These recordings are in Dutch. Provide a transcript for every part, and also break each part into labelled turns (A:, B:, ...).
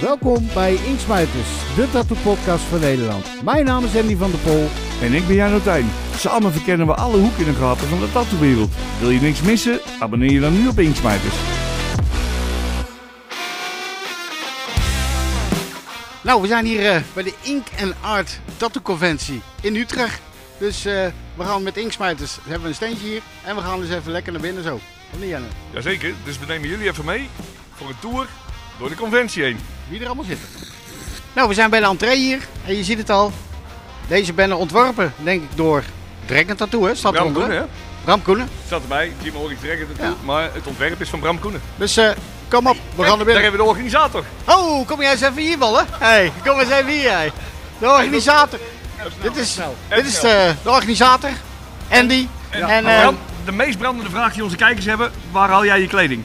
A: Welkom bij Inksmuiters, de tattoo podcast van Nederland. Mijn naam is Andy van der Pol.
B: En ik ben Jan Otijn. Samen verkennen we alle hoeken en gaten van de tattoowereld. Wil je niks missen? Abonneer je dan nu op Inksmijters.
A: Nou, we zijn hier eh, bij de Ink and Art Tattoo Conventie in Utrecht. Dus eh, we gaan met Inksmuiters, we hebben we een steentje hier en we gaan dus even lekker naar binnen zo. Of niet Janne?
C: Jazeker, dus we nemen jullie even mee voor een tour door de conventie heen.
A: Wie er allemaal zitten. Nou, we zijn bij de entree hier en je ziet het al. Deze bennen ontworpen, denk ik, door Dragon Tattoo, hè? Staat
C: Bram
A: eronder,
C: Koenen,
A: hè?
C: hè?
A: Bram Koenen.
C: Staat erbij, Jim Orik Drekker ertoe,
A: Ja.
C: maar het ontwerp is van Bram Koenen.
A: Dus eh, kom op, we gaan naar
C: Daar
A: binnen.
C: hebben we de organisator.
A: Oh, kom jij eens even hier, ballen. hey, kom eens even hier, hey. De organisator. Dit is, dit is eh, de, de organisator, Andy.
C: En,
A: En, eh,
C: Bram, de meest brandende vraag die onze kijkers hebben, waar haal jij je kleding?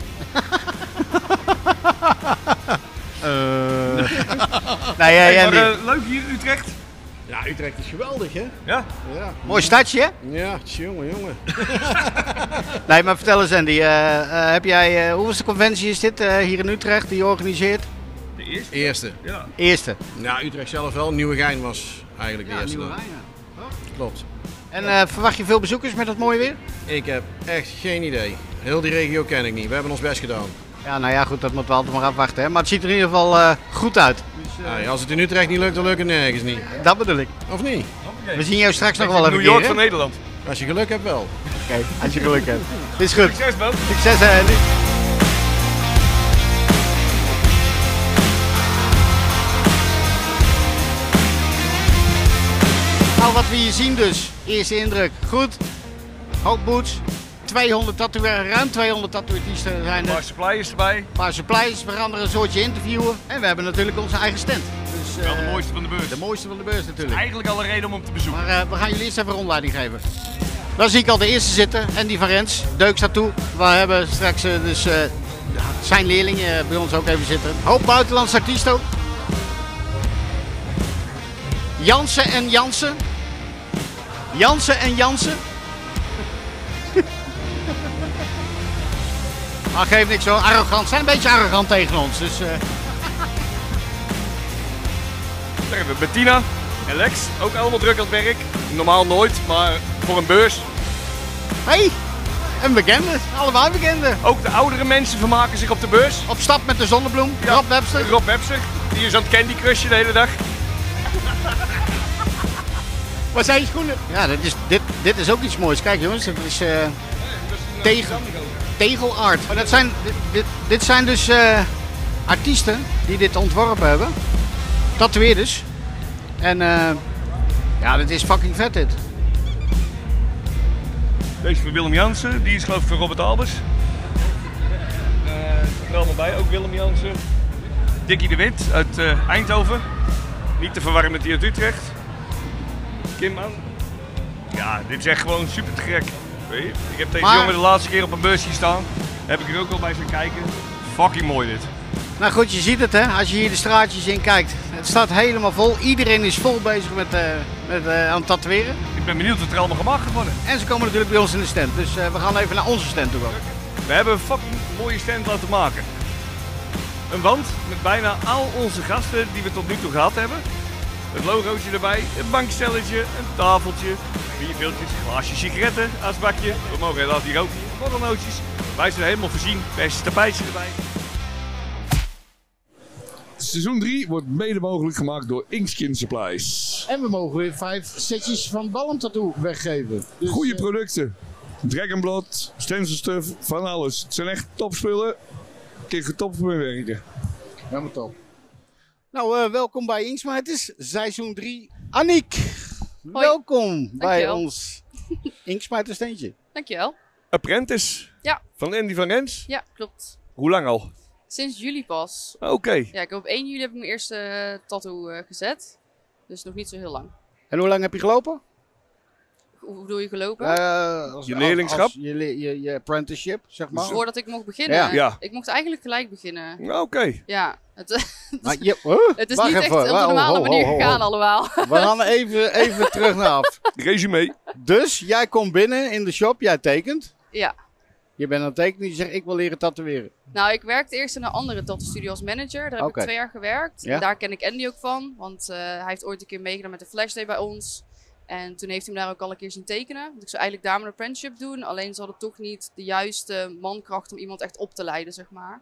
A: nee, hey,
C: Hey, maar,
A: Andy.
C: eh, leuk hier in Utrecht.
D: Ja, Utrecht is geweldig, hè?
C: Ja?
D: Ja,
A: Mooi stadje, hè?
D: ja jongen, jongen.
A: Nee, maar vertel eens, Andy. eh, eh, heb jij, eh, hoeveelste conventie is dit eh, hier in Utrecht die je organiseert?
C: De eerste.
D: Eerste.
C: Ja.
A: Eerste.
D: Nou, Utrecht zelf wel. Nieuwegein was eigenlijk de eerste. dan. Klopt.
A: En eh, verwacht je veel bezoekers met dat mooie weer?
D: Ik heb echt geen idee. Heel die regio ken ik niet. We hebben ons best gedaan.
A: Ja, nou ja, goed, dat moeten we altijd maar afwachten. Hè? Maar het ziet er in ieder geval eh, goed uit.
D: Hey, als het in Utrecht niet lukt, dan lukt het nergens niet.
A: Dat bedoel ik.
D: Of niet?
A: We zien jou straks nog wel even
C: New York
A: keer, hè?
C: van Nederland.
D: Als je geluk hebt wel.
A: Oké, als je geluk hebt. Is goed.
C: Succes, man.
A: Succes, eh, Andy. Nou, wat we hier zien dus. Eerste indruk. Goed. Hoop boots. 200 tatoeëren, ruim 200 tatoeërs zijn er.
C: Maar Supply is erbij.
A: Een paar supplies, we gaan er een soortje interviewen. En we hebben natuurlijk onze eigen stand. Dus, eh,
C: Wel de mooiste van de beurs.
A: de mooiste van de beurs natuurlijk.
C: Eigenlijk al een reden om hem te bezoeken.
A: Maar eh, we gaan jullie eerst even een rondleiding geven. Daar zie ik al de eerste zitten, Andy van Rens, Deuk staat toe. We hebben straks eh, dus, eh, zijn leerling eh, bij ons ook even zitten. Hoop buitenlandse artiesten ook. Jansen en Jansen. Jansen en Jansen. Maar geef Ah, niks hoor, arrogant. Zijn een beetje arrogant tegen ons. Dus, eh,
C: Daar hebben we Bettina en Lex, ook allemaal druk aan het werk. Normaal nooit, maar voor een beurs.
A: hey, een bekende. Allemaal bekende.
C: Ook de oudere mensen vermaken zich op de beurs.
A: Op stap met de zonnebloem,
C: Ja.
A: Rob Webster.
C: Rob Webster, die is aan het Candy Crushen de hele dag.
A: Waar zijn je schoenen? Ja, dit is, dit, dit is ook iets moois. Kijk jongens, dat is eh,
C: Dus,
A: Tegel.
C: eh,
A: tegelart. Maar dat zijn, dit, dit, dit zijn dus eh, artiesten die dit ontworpen hebben. Tatoeëerders. En eh, ja, dit is fucking vet dit.
C: Deze is van Willem Jansen, die is geloof ik van Robert Albers. Eh zit er allemaal bij, ook Willem Jansen. Dickie de Wit uit eh, Eindhoven. Niet te verwarren met die uit Utrecht. Kim aan. Ja, dit is echt gewoon super te gek. Weet je, Ik heb deze
A: Maar-
C: jongen de laatste keer op een beurs zien staan. Heb ik er ook al bij zijn kijken. Fucking mooi dit.
A: Nou goed, je ziet het hè, als je hier de straatjes in kijkt. Het staat helemaal vol. Iedereen is vol bezig met, eh, met eh, aan het tatoeëren.
C: Ik ben benieuwd wat er allemaal gemaakt gaat worden.
A: En ze komen natuurlijk bij ons in de stand. Dus eh, we gaan even naar onze stand toe ook.
C: We hebben een fucking mooie stand laten maken. Een wand met bijna al onze gasten die we tot nu toe gehad hebben. Het logootje erbij, een bankstelletje, een tafeltje, bierviltjes, een glaasje sigaretten, asbakje. We mogen helaas niet roken, borrelnootjes. Wij zijn helemaal voorzien, beste tapijtje erbij.
E: Seizoen 3 wordt mede mogelijk gemaakt door Inkskin Supplies.
F: Ehm,
G: En we mogen weer vijf setjes van Balm-tattoo weggeven. Dus,
E: Goede
G: eh,
E: producten. Dragonblood, stencilstuff, van alles. Het zijn echt topspullen. Ik kan top voor mee werken.
G: Helemaal top.
A: Nou, eh, welkom bij Inksma. Het is seizoen 3. Aniek, welkom bij
F: Dankjewel.
A: ons Inksma het steentje.
F: Dankjewel.
C: Apprentice
F: Ja.
C: van Andy van Rens.
F: Ja, klopt.
C: Hoe lang al?
F: Sinds juli pas.
C: Oké.
F: Ja, ik heb op 1 juli heb ik mijn eerste eh, tattoo eh, gezet. Dus nog niet zo heel lang.
A: En hoe lang heb je gelopen?
F: Hoe hoe bedoel je gelopen?
A: Eh, als-
C: Je leerlingschap?
A: als- als je, le- je, je apprenticeship, zeg maar.
F: Dus Voordat ik mocht beginnen.
A: Ja.
C: Ja.
F: Ik mocht eigenlijk gelijk beginnen.
C: Oké.
F: Ja, het,
A: Maar je- huh?
F: het is
A: Wacht
F: niet echt
A: even,
F: op de
A: wa- ho,
F: normale
A: ho,
F: manier
A: ho, ho.
F: gegaan allemaal.
A: We gaan even, even terug naar af.
C: Resume.
A: Dus, jij komt binnen in de shop, jij tekent.
F: ja,
A: Je bent aan het tekenen, je zegt ik wil leren tatoeëren.
F: Nou, ik werkte eerst in een andere tattoo-studio als manager. Daar heb
A: Oké.
F: ik twee jaar gewerkt.
A: Ja?
F: Daar ken ik Andy ook van, want eh, hij heeft ooit een keer meegedaan met de flashday bij ons. En toen heeft hij me daar ook al een keer zien tekenen. Want ik zou eigenlijk daar mijn apprenticeship doen. Alleen ze hadden toch niet de juiste mankracht om iemand echt op te leiden, zeg maar.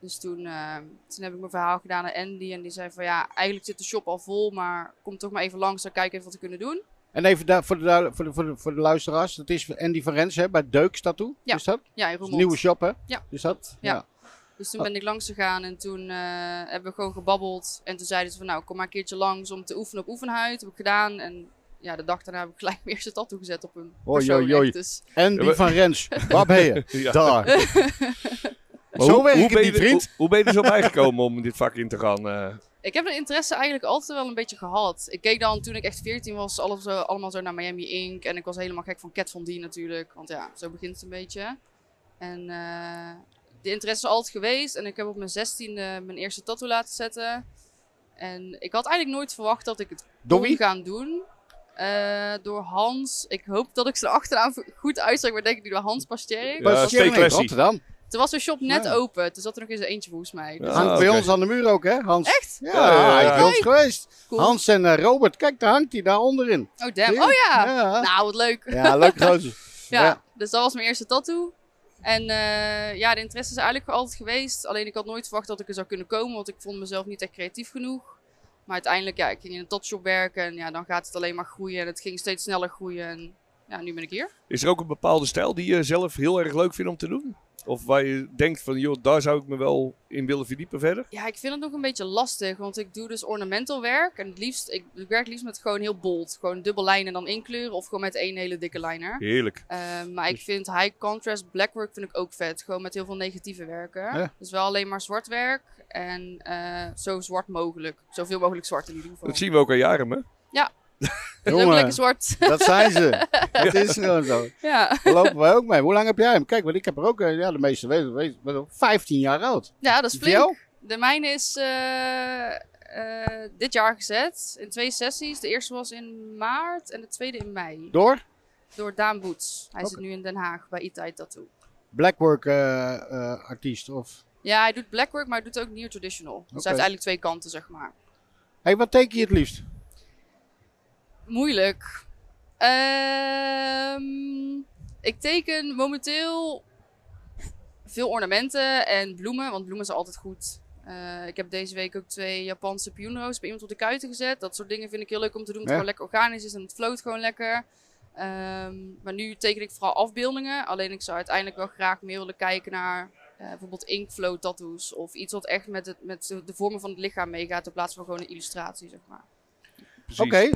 F: Dus toen, eh, toen heb ik mijn verhaal gedaan aan Andy. En die zei van ja, eigenlijk zit de shop al vol, maar kom toch maar even langs. Dan kijken even wat we kunnen doen.
A: En even daar voor, de, duidel- voor, de, voor, de, voor de luisteraars, dat is Andy van Rens hè, bij Deuks Tattoo.
F: Ja.
A: Is dat?
F: Ja,
A: Dat is
F: in Roermond.
A: een nieuwe shop hè?
F: Ja.
A: Is dat?
F: Ja. Dus toen ben ik langs gegaan en toen eh, hebben we gewoon gebabbeld. En toen zeiden ze van nou, kom maar een keertje langs om te oefenen op oefenhuid. Dat heb ik gedaan en ja, de dag daarna heb ik gelijk weer zijn tattoo gezet op een
A: Hoi,
F: persoon.
A: hoi, hoi.
F: echt. Dus
A: Andy
E: Ja, maar-
A: van Rens, waar ben je?
C: Ja.
A: Daar.
E: Maar
A: Zo
E: hoe-
A: werkt
E: hoe
A: het
E: ben
A: niet,
E: je er-
A: vriend.
E: Hoe, hoe ben je er zo bijgekomen om dit vak in te gaan? eh?
F: ik heb de interesse eigenlijk altijd wel een beetje gehad. Ik keek dan toen ik echt 14 was, alles zo, allemaal zo naar Miami Ink. En ik was helemaal gek van Cat Von D natuurlijk. Want ja, zo begint het een beetje. En eh, de interesse is altijd geweest. En ik heb op mijn 16e mijn eerste tattoo laten zetten. En ik had eigenlijk nooit verwacht dat ik het
A: Door
F: kon
A: wie?
F: gaan doen. Eh, door Hans. Ik hoop dat ik zijn achternaam goed uitspreek, maar denk ik nu door Hans Pasterk.
E: Ja,
A: Bij
E: stay
A: Sharon in
E: classy.
A: Rotterdam.
F: Toen was de shop net open. Toen zat er nog eens eentje volgens mij. Dus
E: Ah,
A: Hangt bij
E: oké.
A: ons aan de muur ook hè, Hans?
F: Echt?
A: Ja,
E: Ja, ja, ja.
A: hij is bij ons geweest.
F: Cool.
A: Hans en eh, Robert, kijk, daar hangt hij daar onderin.
F: Oh damn.
A: Zie je?
F: Oh ja.
A: Ja.
F: Nou, wat leuk.
A: Ja, leuk gozer.
F: Ja,
A: Ja.
F: dus dat was mijn eerste tattoo. En eh, ja, de interesse is eigenlijk altijd geweest. Alleen ik had nooit verwacht dat ik er zou kunnen komen, want ik vond mezelf niet echt creatief genoeg. Maar uiteindelijk, ja, ik ging in een tattoo werken en ja, dan gaat het alleen maar groeien. En het ging steeds sneller groeien en ja, nu ben ik hier.
E: Is er ook een bepaalde stijl die je zelf heel erg leuk vindt om te doen? Of waar je denkt van, joh, daar zou ik me wel in willen verdiepen verder?
F: Ja, ik vind het nog een beetje lastig, want ik doe dus ornamental werk. En het liefst, ik, ik werk het liefst met gewoon heel bold. Gewoon dubbel lijnen en dan inkleuren of gewoon met één hele dikke liner.
E: Heerlijk.
F: Eh, maar
A: Dus-
F: ik vind high contrast blackwork vind ik ook vet. Gewoon met heel veel negatieve werken.
A: Ja.
F: Dus wel alleen maar zwart werk. En eh, zo zwart mogelijk. Zoveel mogelijk zwart in ieder geval.
E: Dat zien we ook aan jaren, hè?
F: Dus ook
A: Jongen.
F: lekker zwart.
A: Dat zijn ze. Dat is gewoon zo.
F: ja.
A: Daar lopen wij ook mee. Hoe lang heb jij hem? Kijk, want ik heb er ook, eh, ja, de meeste weten, weten- weten- 15 jaar oud.
F: ja, dat is
A: Die
F: flink.
A: jou?
F: De mijne is eh, eh, dit jaar gezet. In twee sessies. De eerste was in maart en de tweede in mei.
A: Door
F: Door Daan Boets. Hij zit nu in Den Haag bij Itai Tattoo.
A: Blackwork eh, eh, artiest. Of...
F: Ja, hij doet blackwork, maar hij doet ook near traditional. Dus hij heeft eigenlijk twee kanten, zeg maar.
A: hey, wat teken je het liefst?
F: Moeilijk. Ehm, ik teken momenteel veel ornamenten en bloemen, want bloemen zijn altijd goed. Eh, ik heb deze week ook twee Japanse pioenroos bij iemand op de kuiten gezet. Dat soort dingen vind ik heel leuk om te doen, omdat
A: Ja.
F: het gewoon lekker organisch is en het floot gewoon lekker. Ehm, maar nu teken ik vooral afbeeldingen. Alleen ik zou uiteindelijk wel graag meer willen kijken naar eh, bijvoorbeeld inkflow tattoos. Of iets wat echt met, het, met de vormen van het lichaam meegaat in plaats van gewoon een illustratie, zeg maar.
A: Oké, eh,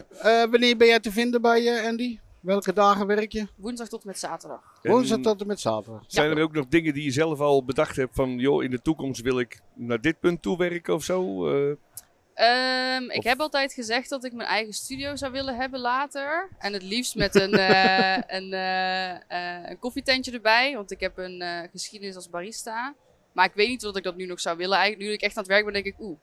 A: wanneer ben jij te vinden bij eh, Andy? Welke dagen werk je?
F: Woensdag tot en met zaterdag.
E: En
A: Woensdag
F: Ehm,
A: tot en met zaterdag.
E: Zijn er ook nog dingen die je zelf al bedacht hebt van, joh, in de toekomst wil ik naar dit punt toewerken of zo? Eh,
F: Ehm, ik
E: Of-
F: heb altijd gezegd dat ik mijn eigen studio zou willen hebben later. En het liefst met een, eh, een, eh, eh, een koffietentje erbij. Want ik heb een eh, geschiedenis als barista. Maar ik weet niet of ik dat nu nog zou willen. Eigenlijk, nu ik echt aan het werk ben, denk ik, oeh.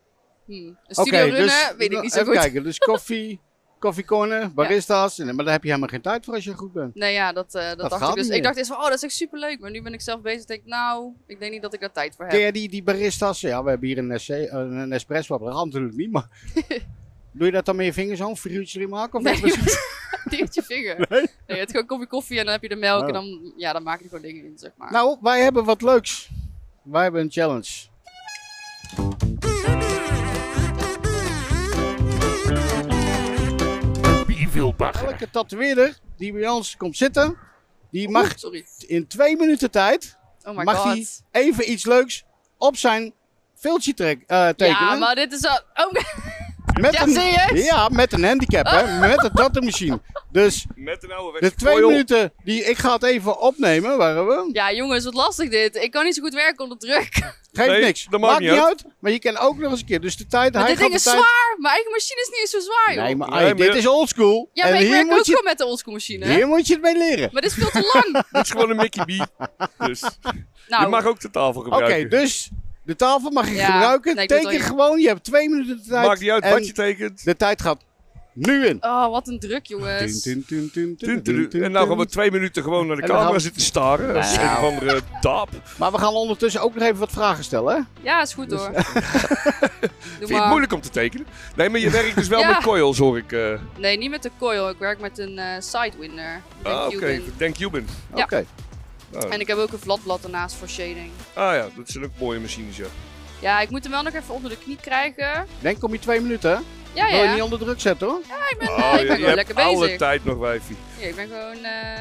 F: hmm, Een studio runnen, weet ik niet
A: dus
F: zo
A: even
F: goed.
A: kijken. Dus koffie, koffiecorner, barista's. En, maar daar heb je helemaal geen tijd voor als je goed bent.
F: Nee, ja, dat, eh, dat, dacht
A: gaat
F: ik dus.
A: niet.
F: Ik dacht eerst van, oh, dat is echt superleuk. Maar nu ben ik zelf bezig. denk ik, nou, ik denk niet dat ik daar tijd voor heb.
A: Ken jij die, die barista's? Ja, we hebben hier een, essay, een, een espresso. Dat gaat natuurlijk niet, maar... Doe je dat dan met je vingers zo'n figuurtje erin maken? Of
F: Nee,
A: met-
F: die met je vinger. Nee? het is gewoon kopje koffie en dan heb je de melk.
A: Oh.
F: En dan, ja, dan maak je er gewoon dingen in, zeg maar.
A: Nou, wij hebben wat leuks. Wij hebben een challenge. Elke tatoeëerder die bij ons komt zitten, die mag
F: Oeh, sorry.
A: in twee minuten tijd
F: Oh my
A: mag
F: god.
A: hij even iets leuks op zijn filtje trek- eh, tekenen.
F: Ja, maar dit is al. Oh,
A: met
F: Ja,
A: een,
F: serieus?
A: ja, met een handicap, hè? met een tattoo machine. Dus
E: Met een oude
A: de twee minuten die ik ga het even opnemen, waren we.
F: ja, jongens, wat lastig dit. Ik kan niet zo goed werken onder druk.
A: Geeft
E: Nee,
A: niks.
E: dat maakt
A: Maakt
E: niet
A: niet uit. Maar je kan ook nog eens een keer. Dus de tijd.
F: Maar
A: hij
F: dit
A: gaat
F: ding
A: de
F: is
A: tijd.
F: zwaar. Mijn eigen machine is niet eens zo zwaar, joh.
A: Nee, maar,
E: Nee,
A: hey,
E: maar
A: dit
E: je-
A: is oldschool.
F: ja, maar
A: en
F: ik
A: hier
F: werk ook
A: moet, je,
F: gewoon met de oldschool machine.
A: hier moet je het mee leren.
F: Maar dit is veel te lang.
E: Het is gewoon een Mickey B. Dus
F: Nou,
E: je mag ook de tafel
A: Oké,
E: gebruiken.
A: dus de tafel mag je
F: Ja,
A: gebruiken.
F: nee, ik doe het
A: Teken
F: wel, ja.
A: gewoon, je hebt twee minuten de tijd.
E: Maakt niet uit
A: en
E: wat je tekent.
A: De tijd gaat nu in.
F: Oh, wat een druk, jongens.
A: Tun, tun, tun, tun, tun, tun, tun.
E: En nou gaan we twee minuten gewoon naar de
A: En dan gaan
E: camera
A: we-
E: zitten staren. Als
F: Nou.
E: een of andere taap.
A: Maar we gaan ondertussen ook nog even wat vragen stellen. Hè?
F: Ja, is goed hoor. Doe
E: Vind je het
F: maar.
E: moeilijk om te tekenen? Nee, maar je werkt dus wel
F: Ja.
E: met coils, hoor ik. eh.
F: Nee, niet met de coil. Ik werk met een eh, sidewinder. Met een
E: Ah, oké.
F: Cuban.
E: Denk Cuban.
F: Ja.
A: Oké.
E: Ah.
F: En ik heb ook een vlatblad ernaast voor shading.
E: Ah ja, dat zijn ook mooie machines, ja.
F: Ja, ik moet hem wel nog even onder de knie krijgen.
A: Denk om je twee minuten. hè?
F: Ja,
A: Wil je
F: ja.
A: niet onder druk zetten hoor.
F: ik ben, eh,
E: Ah,
F: ik
E: je- je
F: ben gewoon
E: hebt
F: lekker
E: alle
F: bezig.
E: tijd nog, wijfie.
F: Ja, ik ben gewoon... eh,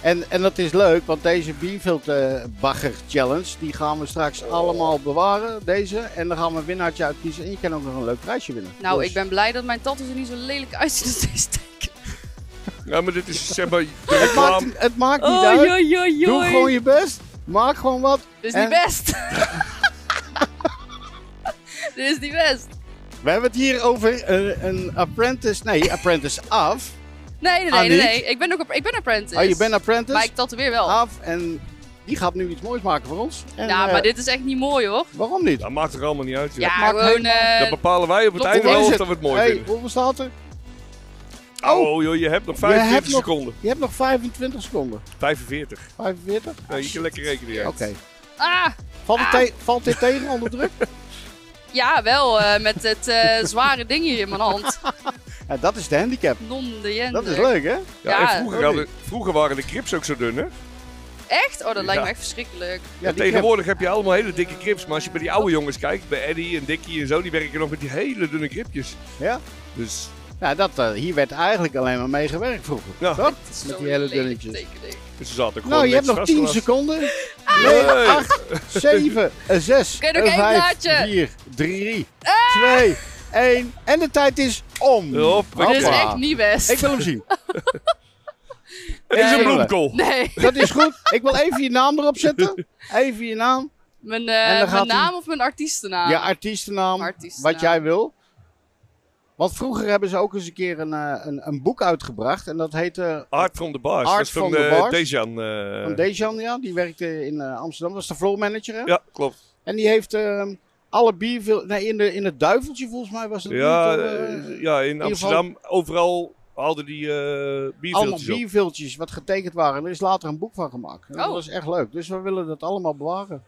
A: En, en dat is leuk, want deze Beanfield eh, Bagger Challenge, die gaan we straks allemaal bewaren. Deze. En dan gaan we een winnaartje uitkiezen. En je kan ook nog een leuk prijsje winnen.
F: nou,
A: Dus-
F: ik ben blij dat mijn tattoos er niet zo lelijk uitzien als deze teken.
E: Ja, maar dit is zeg maar de
A: Het maakt,
E: reclame.
A: het maakt niet
F: Oh,
A: uit.
F: joi, joi,
A: Doe
F: joi.
A: gewoon je best. Maak gewoon wat.
F: Dit
A: En-
F: is niet best. Dit is niet best.
A: We hebben het hier over een, een apprentice. Nee, apprentice af.
F: Nee, nee,
A: Ah,
F: nee, nee.
A: niet?
F: nee. Ik ben nog op, ik ben apprentice.
A: Oh, je bent
F: Maar
A: apprentice Ah,
F: ik tatoeëer wel.
A: af. En die gaat nu iets moois maken voor ons. En,
F: nou,
A: eh,
F: maar dit is echt niet mooi hoor.
A: Waarom niet?
E: Dat maakt toch allemaal niet uit, joh.
F: Ja,
A: maakt
F: gewoon. eh,
E: Dat bepalen wij op het
F: Klopt,
E: einde
F: hoe
E: wel
A: is het?
E: of dat we het mooi
A: hey,
E: vinden.
A: hoeveel staat er?
E: Oh, joh, je hebt nog 45
A: hebt nog-
E: seconden.
A: Je hebt nog 25 seconden.
E: 45.
A: 45?
E: Ja, je kan lekker rekenen, ja.
A: Oké.
F: ah,
A: Valt, het te- valt dit tegen onder druk?
F: ja, wel. eh, met het eh, zware ding hier in mijn hand.
A: Ja, dat is de handicap.
F: Non de jender.
A: Dat is leuk, hè?
E: Ja,
F: Ja.
E: en vroeger, hadden, vroeger waren de crips ook zo dun, hè?
F: Echt? Oh, dat lijkt me
E: Ja.
F: echt verschrikkelijk.
A: Ja,
E: en tegenwoordig heb je allemaal hele dikke crips. Maar als je bij die oude jongens kijkt, bij Eddie en Dickie en zo, die werken nog met die hele dunne cripjes.
A: Ja.
E: Dus
A: Nou, dat, eh, hier werd eigenlijk alleen maar mee gewerkt vroeger.
E: Ja.
A: Toch?
F: Het is
A: Met
F: zo'n
A: die hele
F: lelijk
A: dunnetjes.
F: tekening. Oké,
E: ze zaten gewoon
A: Nou, je hebt
E: niks
A: nog
E: vast
A: 10
E: te
A: seconden. 9, 8, 7, 6,
F: Kun je nog één
A: 5,
F: blaadje?
A: 4, 3,
E: Ah!
A: 2, 1. En de tijd is om.
E: Hoppakee.
F: Dit is
A: Hoppa.
F: echt niet best.
A: Ik wil hem zien.
E: lasten. Dit is een
A: Nee.
E: bloemkool.
F: Nee,
A: Dat is goed. Ik wil even je naam erop zetten. Even je naam.
F: mijn, eh,
A: dan
F: mijn
A: gaat hij-
F: naam of mijn artiestennaam?
A: Je artiestennaam.
F: Artiestennaam.
A: Wat jij wil. Want vroeger hebben ze ook eens een keer een, eh, een, een boek uitgebracht. En dat heette
E: Art from the Bars.
A: Art
E: dat is van,
A: from the
E: eh,
A: Bars.
E: Dejan. eh,
A: Van Dejan, ja, die werkte in eh, Amsterdam, was de floor manager. Hè?
E: Ja, klopt.
A: En die heeft ehm, alle bierveel. Nee, in, de, in het duiveltje volgens mij was het.
E: Ja,
A: niet, eh,
E: eh, ja
A: ieder
E: in
A: geval-
E: Amsterdam, overal hadden die eh
A: allemaal
E: bierveeltjes op.
A: bierviltjes wat getekend waren. En er is later een boek van gemaakt. En
F: Oh.
A: Dat was echt leuk. Dus we willen dat allemaal bewaren.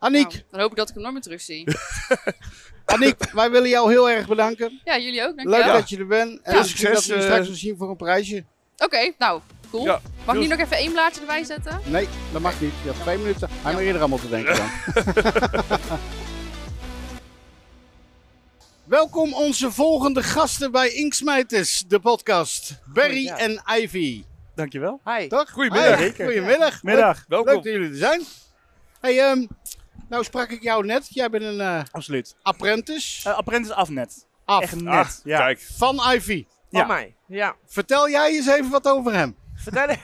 F: Nou,
A: Aniek,
F: dan hoop ik dat ik hem nooit meer terugzie.
A: Aniek, wij willen jou heel erg bedanken.
F: ja, jullie ook,
A: Leuk
F: dankjewel.
A: dat je er bent. En
E: Veel
A: misschien dat
E: succes,
A: we je
E: eh.
A: straks nog zien voor een prijsje.
F: Oké, nou, cool.
E: Ja,
F: Mag ik
E: heel-
F: nu nog even één blaadje erbij zetten?
A: Nee, dat mag niet. Je hebt twee minuten. Hij maar eerder allemaal te denken dan. Welkom onze volgende gasten bij Inksmijters, de podcast. Barry en Ivy.
H: Dankjewel.
I: Hi.
A: Toch?
E: Goedemiddag.
A: Hi,
H: Zeker.
A: Goedemiddag.
H: Middag.
A: Leuk,
E: Welkom.
A: leuk dat jullie er zijn. Hey, ehm, nou sprak ik jou net. Jij bent een eh,
H: Absoluut.
A: apprentice
H: Eh apprentice af net.
A: af
H: Oh, Echt net.
E: Ah,
H: ja.
E: kijk.
A: van Ivy.
I: Van
H: Ja.
I: mij. Ja.
A: Vertel jij eens even wat over hem.
I: Vertel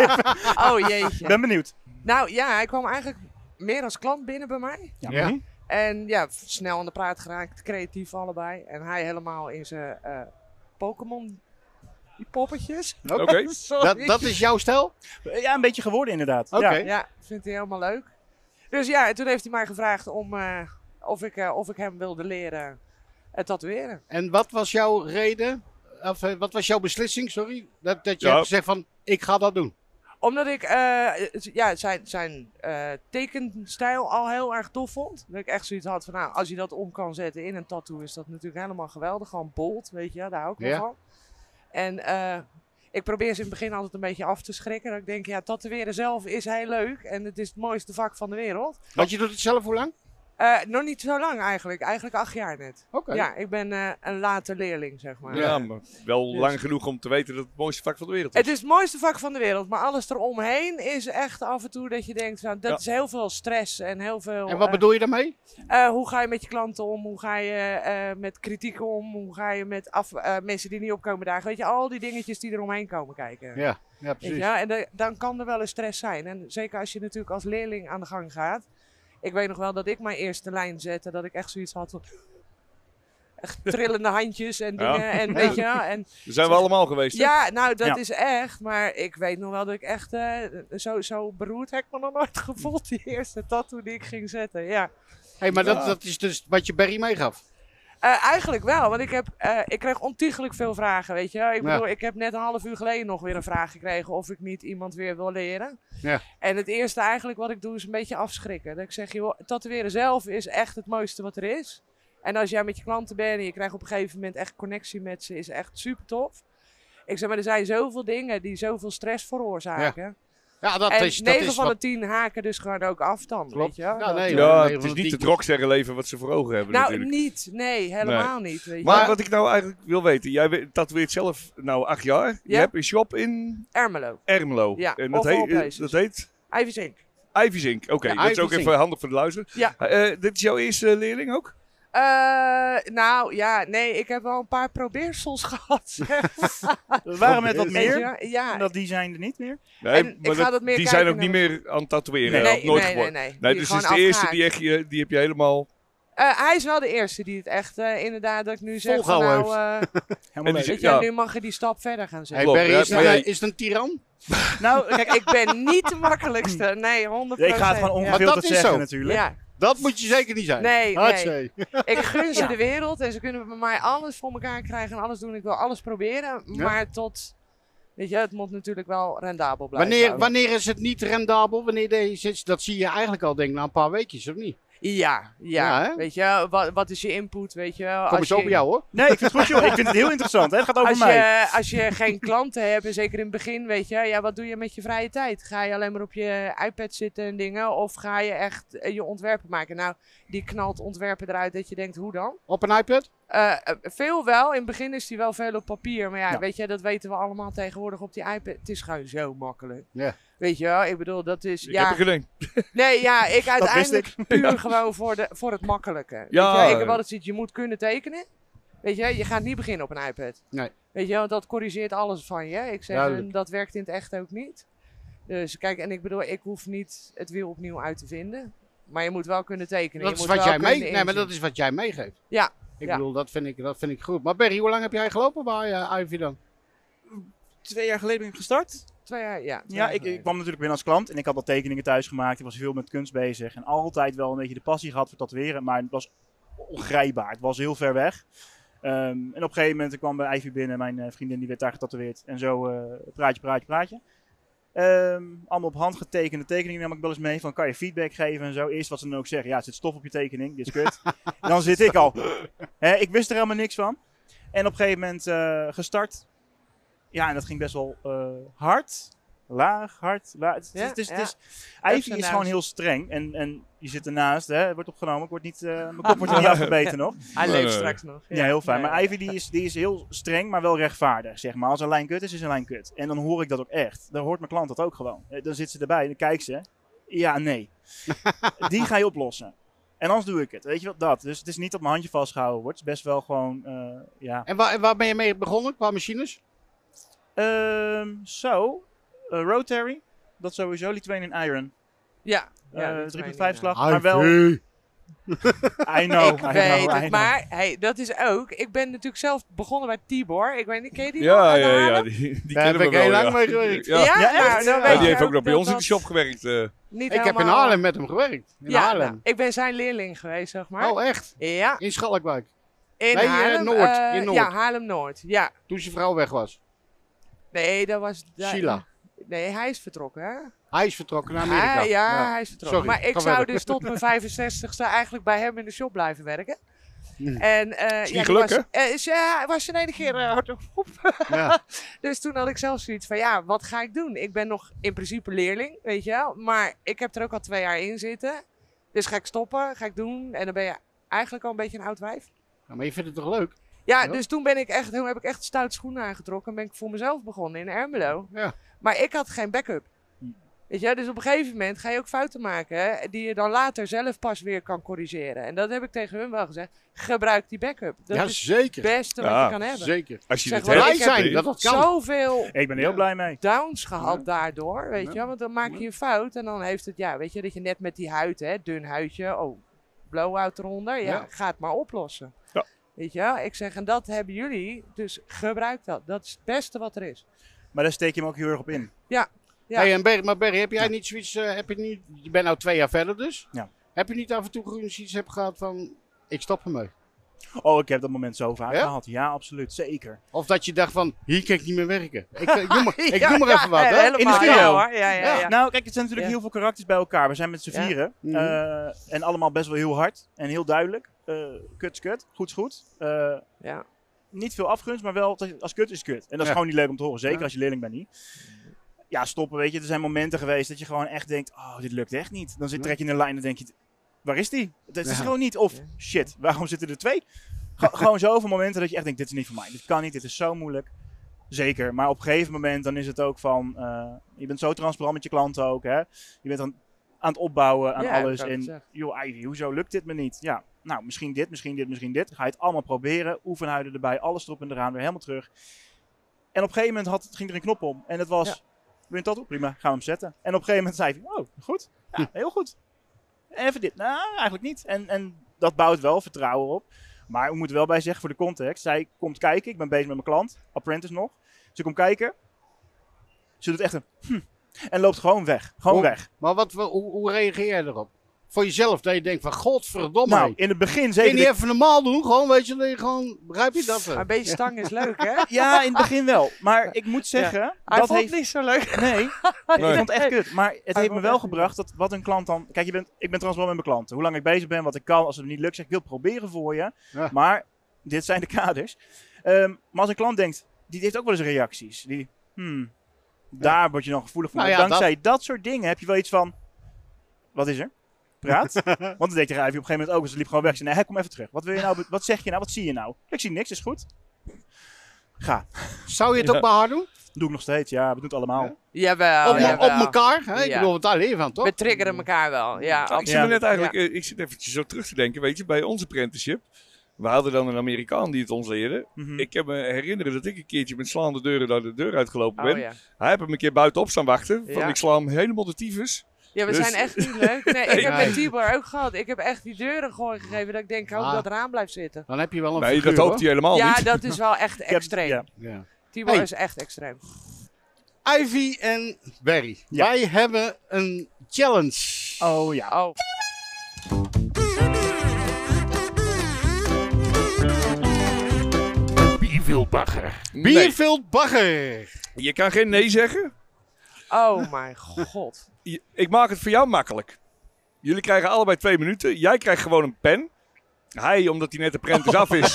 I: Oh jeetje.
H: Ik ben benieuwd.
I: Nou ja, hij kwam eigenlijk meer als klant binnen bij mij.
H: Ja.
A: Ja.
I: En ja, f- snel aan de praat geraakt, creatief allebei. En hij helemaal in zijn eh, Pokémon. Die poppetjes.
E: Oké.
I: Sorry.
A: Dat, dat is jouw stijl?
H: Ja, een beetje geworden inderdaad.
A: Oké.
H: Ja.
I: Ja, vindt hij helemaal leuk. Dus ja, en toen heeft hij mij gevraagd om, eh, of, ik, eh, of ik hem wilde leren het tatoeëren.
A: En wat was jouw reden, of eh, wat was jouw beslissing, sorry, dat, dat je
E: Ja.
A: hebt gezegd van, ik ga dat doen.
I: Omdat ik eh, het- ja, zijn, zijn eh, tekenstijl al heel erg tof vond. Dat ik echt zoiets had van, nou, als je dat om kan zetten in een tattoo, is dat natuurlijk helemaal geweldig. Gewoon bold, weet je, daar hou ik wel
A: Ja.
I: van. En eh, ik probeer ze in het begin altijd een beetje af te schrikken. Dat ik denk, ja, tatoeëren zelf is heel leuk en het is het mooiste vak van de wereld.
A: Want je doet het zelf hoe lang?
I: Eh, nog niet zo lang eigenlijk, eigenlijk acht jaar net.
A: Oké.
I: Ja, ik ben eh, een late leerling, zeg maar.
E: Ja, maar wel
I: Dus-
E: lang genoeg om te weten dat het mooiste vak van de wereld is.
I: Het is het mooiste vak van de wereld, maar alles eromheen is echt af en toe dat je denkt, nou, dat
E: Ja.
I: is heel veel stress en heel veel...
A: En wat
I: eh,
A: bedoel je daarmee?
I: eh, hoe ga je met je klanten om? Hoe ga je eh, met kritiek om? Hoe ga je met af, eh, mensen die niet opkomen dagen? Weet je, al die dingetjes die eromheen komen kijken.
A: Ja, ja
I: Weet je,
A: precies.
I: ja, en da- dan kan er wel eens stress zijn. En zeker als je natuurlijk als leerling aan de gang gaat. Ik weet nog wel dat ik mijn eerste lijn zette, dat ik echt zoiets had van... Echt trillende handjes en
E: Ja.
I: dingen en weet je wel. En
E: Daar zijn we allemaal geweest. hè?
I: ja, nou, dat
H: Ja.
I: is echt. Maar ik weet nog wel dat ik echt eh, zo, zo beroerd heb ik me nog nooit gevoeld. Die eerste tattoo die ik ging zetten, ja.
A: hey, maar dat, dat is dus wat je Barry meegaf.
I: Eh, eigenlijk wel, want ik, heb, eh, ik kreeg ontiegelijk veel vragen, weet je. Ik
A: Ja.
I: bedoel, ik heb net een half uur geleden nog weer een vraag gekregen of ik niet iemand weer wil leren.
A: Ja.
I: En het eerste eigenlijk wat ik doe is een beetje afschrikken. Dat ik zeg, joh, tatoeëren zelf is echt het mooiste wat er is. En als jij met je klanten bent en je krijgt op een gegeven moment echt connectie met ze, is echt super tof. Ik zeg, maar er zijn zoveel dingen die zoveel stress veroorzaken.
A: Ja, dat
I: en
A: is, dat
I: 9
A: is
I: van
A: wat...
I: de 10 haken dus gewoon ook af dan, weet
A: Klopt.
I: je. wel.
A: Ja, nee, hoor.
C: Ja,
A: Nee,
C: het is
A: want
C: niet
A: die-
C: het rocksterrenleven wat ze voor ogen hebben
I: nou,
C: natuurlijk.
I: niet. Nee, helemaal niet, weet je.
C: Maar
I: Maar,
C: wat ik nou eigenlijk wil weten, jij we- tatoeëert zelf nou acht jaar. Je
I: Ja.
C: hebt een shop in
I: Ermelo,
C: Ermelo.
I: Ja,
C: en dat,
I: of all
C: heet, eh,
I: places.
C: dat heet
I: Ivy
C: Ivyzink. Oké,
A: Ja,
C: dat is ook
A: Ivyzink.
C: even handig voor de luister. Eh,
I: Ja.
C: dit is jouw eerste leerling ook?
I: Eh nou ja, nee, ik heb wel een paar probeersels gehad. zeg.
H: We waren met wat
I: Weet je
H: meer.
I: wel? Ja.
H: En dat die zijn er niet meer.
C: Nee,
I: En ik ga
C: dat-
I: dat meer
C: die
I: kijken
C: zijn ook
I: naar
C: niet meer aan het tatoeëren.
H: Nee,
C: hè,
I: nee,
C: of nooit
I: nee,
C: geworden.
I: nee, nee.
C: nee
I: Die
C: dus
I: gewoon
C: dit is de eerste
I: afgehaakt.
C: die, echt, je- die heb je helemaal...
I: Eh, hij is wel de eerste die het echt, eh, inderdaad, dat ik nu zeg, van,
A: Volgehouden
I: nou, eh,
H: Helemaal
C: En die
H: leuk.
I: weet je,
C: Ja.
I: nu mag je die stap verder gaan
A: Hey,
I: zetten.
C: Klopt,
A: Barry,
C: ja,
A: is, het
C: maar
A: een-
C: jij-
A: is het een tiran?
I: Nou, kijk, ik ben niet de makkelijkste. Nee, 100%.
H: Ik ga het gewoon
I: ja.
A: Maar dat
H: ongefilterd
A: is
H: zeggen
A: zo.
H: natuurlijk.
I: Ja,
A: Dat moet je zeker niet zijn.
I: nee,
H: Ah,
I: nee.
A: Hartzee.
I: Ik gun ze de wereld en ze kunnen bij mij alles voor elkaar krijgen en alles doen. Ik wil alles proberen,
A: Ja.
I: maar tot, weet je, het moet natuurlijk wel rendabel blijven.
A: Wanneer, wanneer is het niet rendabel? Wanneer deze, dat zie je eigenlijk al denk ik na een paar weekjes, of niet?
I: Ja, ja.
A: Ja, hè?
I: weet je, wat, wat is je input, weet je.
A: Kom
I: als
A: eens op
I: je-
A: jou hoor.
H: Nee, ik vind het goed joh. Ik vind het heel interessant. Hè? Het gaat over
I: Als
H: mij.
I: je, als je geen klanten hebt, en zeker in het begin, weet je, ja, wat doe je met je vrije tijd? Ga je alleen maar op je iPad zitten en dingen? Of ga je echt eh, je ontwerpen maken? Nou, die knalt ontwerpen eruit dat je denkt, hoe dan?
A: Op een iPad?
I: Eh, eh, veel wel, in het begin is die wel veel op papier. Maar ja,
H: Ja.
I: weet je, dat weten we allemaal tegenwoordig op die iPad. Het is gewoon zo makkelijk.
A: Ja.
I: Weet je wel, ik bedoel, dat is...
C: Ik
I: ja,
C: heb er geen één.
I: Nee, ja, ik uiteindelijk puur gewoon voor, de, voor het makkelijke.
C: Ja.
I: Weet je, ik heb altijd zoiets, je moet kunnen tekenen. Weet je, je gaat niet beginnen op een iPad.
A: Nee.
I: Weet je, want dat corrigeert alles van je. Ik zeg,
A: Duidelijk.
I: en dat werkt in het echt ook niet. Dus kijk, en ik bedoel, ik hoef niet het wiel opnieuw uit te vinden. Maar je moet wel kunnen tekenen.
A: Dat
I: je
A: is,
I: moet
A: wat
I: wel
A: jij mee,
I: kunnen
A: nee, maar
I: inzien.
A: dat is wat jij meegeeft.
I: Ja,
A: Ik
I: ja.
A: bedoel, dat vind ik, dat vind ik goed. Maar Barry, hoe lang heb jij gelopen bij eh, Ivy dan?
H: Twee jaar geleden ben ik gestart.
I: Twee jaar, ja. twee
H: Ja,
I: jaar
H: ik, ik
I: geleden.
H: kwam natuurlijk binnen als klant en ik had al tekeningen thuis gemaakt. Ik was veel met kunst bezig en altijd wel een beetje de passie gehad voor tatoeëren. Maar het was ongrijpbaar. Het was heel ver weg. Ehm, en op een gegeven moment kwam bij Ivy binnen, mijn eh, vriendin die werd daar getatoeëerd. En zo eh, praatje, praatje, praatje. Ehm, allemaal op hand getekende tekeningen nam ik wel eens mee. Van kan je feedback geven en zo. Eerst wat ze dan ook zeggen. Ja, er zit stof op je tekening. Dit is kut. En dan zit ik al. Hè, ik wist er helemaal niks van. En op een gegeven moment eh, gestart. Ja, en dat ging best wel eh, hard. Laag, hard, laag. Het, is-
I: Ja,
H: het is, het
I: ja.
H: is,
I: Ups
H: Ivy
I: en
H: is
I: downs.
H: gewoon heel streng. En, en je zit ernaast. Hè, het wordt opgenomen. Ik word niet, eh, mijn kop wordt er niet afgebeten nog.
I: Hij
C: Nee,
I: leeft
C: nee,
I: straks nog.
H: Eh, Ja, heel fijn.
I: Nee,
H: Maar Ivy die is, die is heel streng, maar wel rechtvaardig. Zeg maar. Als een lijn kut is, is een lijn kut. En dan hoor ik dat ook echt. Dan hoort mijn klant dat ook gewoon. Eh, Dan zit ze erbij en dan kijkt ze. Ja, nee. die ga je oplossen. En anders doe ik het. Weet je wat dat? Dus het is niet dat mijn handje vastgehouden wordt. Het is best wel gewoon, eh, ja.
A: En waar, en waar ben je mee begonnen qua machines?
H: Ehm, zo, Eh, Rotary. Dat sowieso. Lithuanian in Iron.
I: Ja. ja,
H: Eh
I: dat
H: 3.5
I: weet ik
H: slag. Maar wel, I
A: Ivy.
H: know. I
I: niet.
H: know,
I: Ik weet
H: I know.
I: het, maar hey, dat is ook. Ik ben natuurlijk zelf begonnen bij Tibor. Ik weet niet, ken je die? nog
C: Ja,
I: uit
C: ja, ja,
I: Haarlem?
C: die, die
A: Daar
C: kennen
A: heb
C: we
A: ik
C: wel,
A: heel
C: ja.
A: lang mee gewerkt.
C: Ja.
I: Ja,
H: Ja,
I: nou,
H: echt?
I: dan
H: Ja,
I: weet
C: Ja, die
I: je
C: heeft ook nog bij
I: dat
C: ons in de
I: dat
C: shop gewerkt. eh.
I: niet
A: Ik heb in
I: helemaal-
A: Haarlem met hem gewerkt. In
I: ja, nou,
A: Haarlem.
I: ik ben zijn leerling geweest, zeg maar.
A: Oh, echt?
I: Ja,
A: In Schalkwijk. Nee,
I: in
A: eh,
I: Haarlem.
A: Noord,
I: eh,
A: in Noord.
I: Ja, Haarlem-Noord, ja.
A: Toen zijn vrouw weg was.
I: Nee, dat was... daar-
A: Sheila.
I: Nee, hij is vertrokken, hè?
A: Hij is vertrokken naar Amerika.
I: Hij- Ah, ja, hij is vertrokken.
A: Sorry,
I: maar ik
A: ga
I: zou
A: verder.
I: dus tot mijn 65ste eigenlijk bij hem in de shop blijven werken.
A: Hmm.
I: En, eh,
C: niet
I: ja, die
C: gelukt,
I: was- eh, is, ja, hij was zijn ene keer eh, hard op
A: Ja.
I: Dus toen had ik zelf zoiets van, ja, wat ga ik doen? Ik ben nog in principe leerling, weet je wel. Maar ik heb er ook al twee jaar in zitten. Dus ga ik stoppen, ga ik doen. En dan ben je eigenlijk al een beetje een oud wijf.
A: Ja, Nou, Maar je vindt het toch leuk?
I: Ja,
A: Ja.
I: dus toen ben ik echt, toen heb ik echt stout schoenen aangetrokken en ben ik voor mezelf begonnen in Ermelo.
A: Ja.
I: Maar ik had geen backup. Weet je, dus op een gegeven moment ga je ook fouten maken hè, die je dan later zelf pas weer kan corrigeren. En dat heb ik tegen hun wel gezegd. Gebruik die backup. Dat
A: ja,
I: is
A: zeker.
I: het beste wat
C: Ja,
I: je kan hebben.
A: Zeker.
C: Als je
I: Zeg
C: dit
I: maar,
C: hebt.
A: Blij
I: ik
A: zijn
C: Nee.
A: dat dat kan.
I: Zoveel
H: Ik ben er heel
A: Ja.
H: blij mee.
I: downs gehad
A: Ja.
I: daardoor, weet
A: Ja.
I: je. Want dan maak je een fout en dan heeft het, ja, weet je, dat je net met die huid, hè, dun huidje, oh, blow-out eronder, ja,
A: Ja.
I: ga het maar oplossen.
C: Ja.
I: Weet je, wel? ik zeg, en dat hebben jullie, dus gebruik dat. Dat is het beste wat er is.
H: Maar daar steek je hem ook heel erg op in.
I: Ja.
A: Hey, en Berry, maar Berry, heb jij niet zoiets, eh, heb je niet, je bent nou twee jaar verder dus.
H: Ja.
A: Heb je niet af en toe gewoon zoiets hebt gehad van, ik stop ermee.
H: Oh, ik heb dat moment zo vaak
A: Ja?
H: gehad. Ja, absoluut. Zeker.
A: Of dat je dacht van, hier kan ik niet meer werken. Ik, eh, ik doe maar, ik
I: Ja,
A: doe maar
I: ja,
A: even wat,
I: ja,
A: hè? In de
I: helemaal,
A: studio.
I: Ja, hoor. Ja, ja,
A: Ja.
I: ja.
H: Nou, kijk, het zijn natuurlijk
I: Ja.
H: heel veel karakters bij elkaar. We zijn met z'n
I: Ja.
H: vieren.
A: Mhm.
H: eh, en allemaal best wel heel hard en heel duidelijk. Eh, kut is kut, goed is goed. Eh,
I: Ja.
H: niet veel afgunst, maar wel te- als kut is kut. En dat is
A: Ja.
H: gewoon niet leuk om te horen, zeker
I: Ja.
H: als je leerling bent niet. Ja, stoppen, weet je. Er zijn momenten geweest dat je gewoon echt denkt, oh, dit lukt echt niet. Dan zit, trek je in een lijn en denk je, waar is die? Het is
A: Ja.
H: gewoon niet. Of,
I: Ja.
H: shit, waarom zitten er twee? Ge- gewoon zoveel momenten dat je echt denkt, dit is niet voor mij. Dit kan niet, dit is zo moeilijk. Zeker, maar op een gegeven moment dan is het ook van, eh, je bent zo transparant met je klanten ook, hè. Je bent aan, aan het opbouwen aan
I: Ja, heb
H: alles.
I: ik ook
H: En
I: gezegd.
H: joh, Ivy, hoezo lukt dit me niet? Ja, nou, misschien dit, misschien dit, misschien dit. Ga je het allemaal proberen. Oefenhuiden erbij, alles erop en eraan, weer helemaal terug. En op een gegeven moment had, ging er een knop om. En dat was,
I: Ja.
H: wil je dat ook? Prima, gaan we hem zetten. En op een gegeven moment zei hij, oh, goed. Ja, heel goed. Even dit. Nou, eigenlijk niet. En, en dat bouwt wel vertrouwen op. Maar we moeten wel bij zeggen voor de context. Zij komt kijken. Ik ben bezig met mijn klant. Apprentice nog. Ze komt kijken. Ze doet echt een... hm, en loopt gewoon weg. Gewoon
A: Oh.
H: weg.
A: Maar wat, hoe, hoe reageer jij erop? Voor jezelf, dat je denkt van, godverdomme.
H: Nou,
A: Nou,
H: in het begin
A: kun je
H: zeker.
A: niet even normaal doen? Gewoon, weet je, dat je gewoon, begrijp je dat?
I: Maar
A: wel?
I: een beetje stang is leuk, hè?
H: Ja, in het begin wel. Maar ik moet zeggen,
I: Hij
H: dat
I: vond
H: heeft...
I: het niet zo leuk.
H: Nee, ik vond het echt kut. Maar het heeft me
I: vond
H: wel
I: echt
H: gebracht dat wat een klant dan... Kijk, je bent, ik ben transparant met mijn klanten. Hoe lang ik bezig ben, wat ik kan. Als het me niet lukt, zeg ik, ik wil het proberen voor je.
A: Ja.
H: Maar dit zijn de kaders. Ehm, maar als een klant denkt, die heeft ook wel eens reacties. Die, hmm, daar word je dan gevoelig voor.
A: Nou
H: Maar
A: ja,
H: dankzij dat... soort dingen heb je wel iets van... Wat is er? Praat. Want dan deed je Ivy op een gegeven moment ook. Dus het liep gewoon weg. Ik zei, nee, hij, kom even terug. Wat, wil je nou, be- wat zeg je nou? Wat zie je nou? Ik zie niks, is goed. Ga.
A: Zou je het ook bij haar doen?
H: Doe ik nog steeds. Ja, we doen het allemaal.
I: Jawel,
A: op, me-
I: jawel.
A: op elkaar? Hè? Ik
I: Ja.
A: bedoel, want daar leer je van, toch?
I: We triggeren elkaar wel. Ja,
C: Nou, ik zit
H: Ja.
C: me net eigenlijk, eh, ik zit eventjes zo terug te denken, weet je, bij ons apprenticeship, we hadden dan een Amerikaan die het ons leerde.
A: Hm.
H: Mhm.
C: Ik kan me herinneren dat ik een keertje met slaande deuren naar de deur uitgelopen
I: Oh,
C: ben.
I: ja.
C: Hij heeft hem een keer buitenop staan wachten, van
I: Ja.
C: ik sla hem helemaal de tyfus.
I: Ja, we
C: Dus-
I: zijn echt niet leuk. Nee, ik heb
A: Nee.
I: met Tibor ook gehad. Ik heb echt die deuren gooi gegeven dat ik denk, ik hoop
A: Ah.
I: dat het raam blijft zitten.
A: Dan heb je wel een
C: Nee,
A: figuur,
C: dat hoopt hij helemaal
I: ja,
C: Oh, niet.
I: dat is wel echt
H: heb-
I: extreem.
H: ja.
A: hoor. Ja.
I: Tibor
A: Hey.
I: is echt extreem.
A: Ivy en Barry,
H: Ja.
A: wij hebben een challenge.
H: Oh ja.
I: Oh,
A: Bierveld Bagger.
C: Je kan geen nee zeggen.
I: oh mijn god.
C: Je- ik maak het voor jou makkelijk. Jullie krijgen allebei twee minuten. Jij krijgt gewoon een pen. Hij, omdat hij net de prentice af is,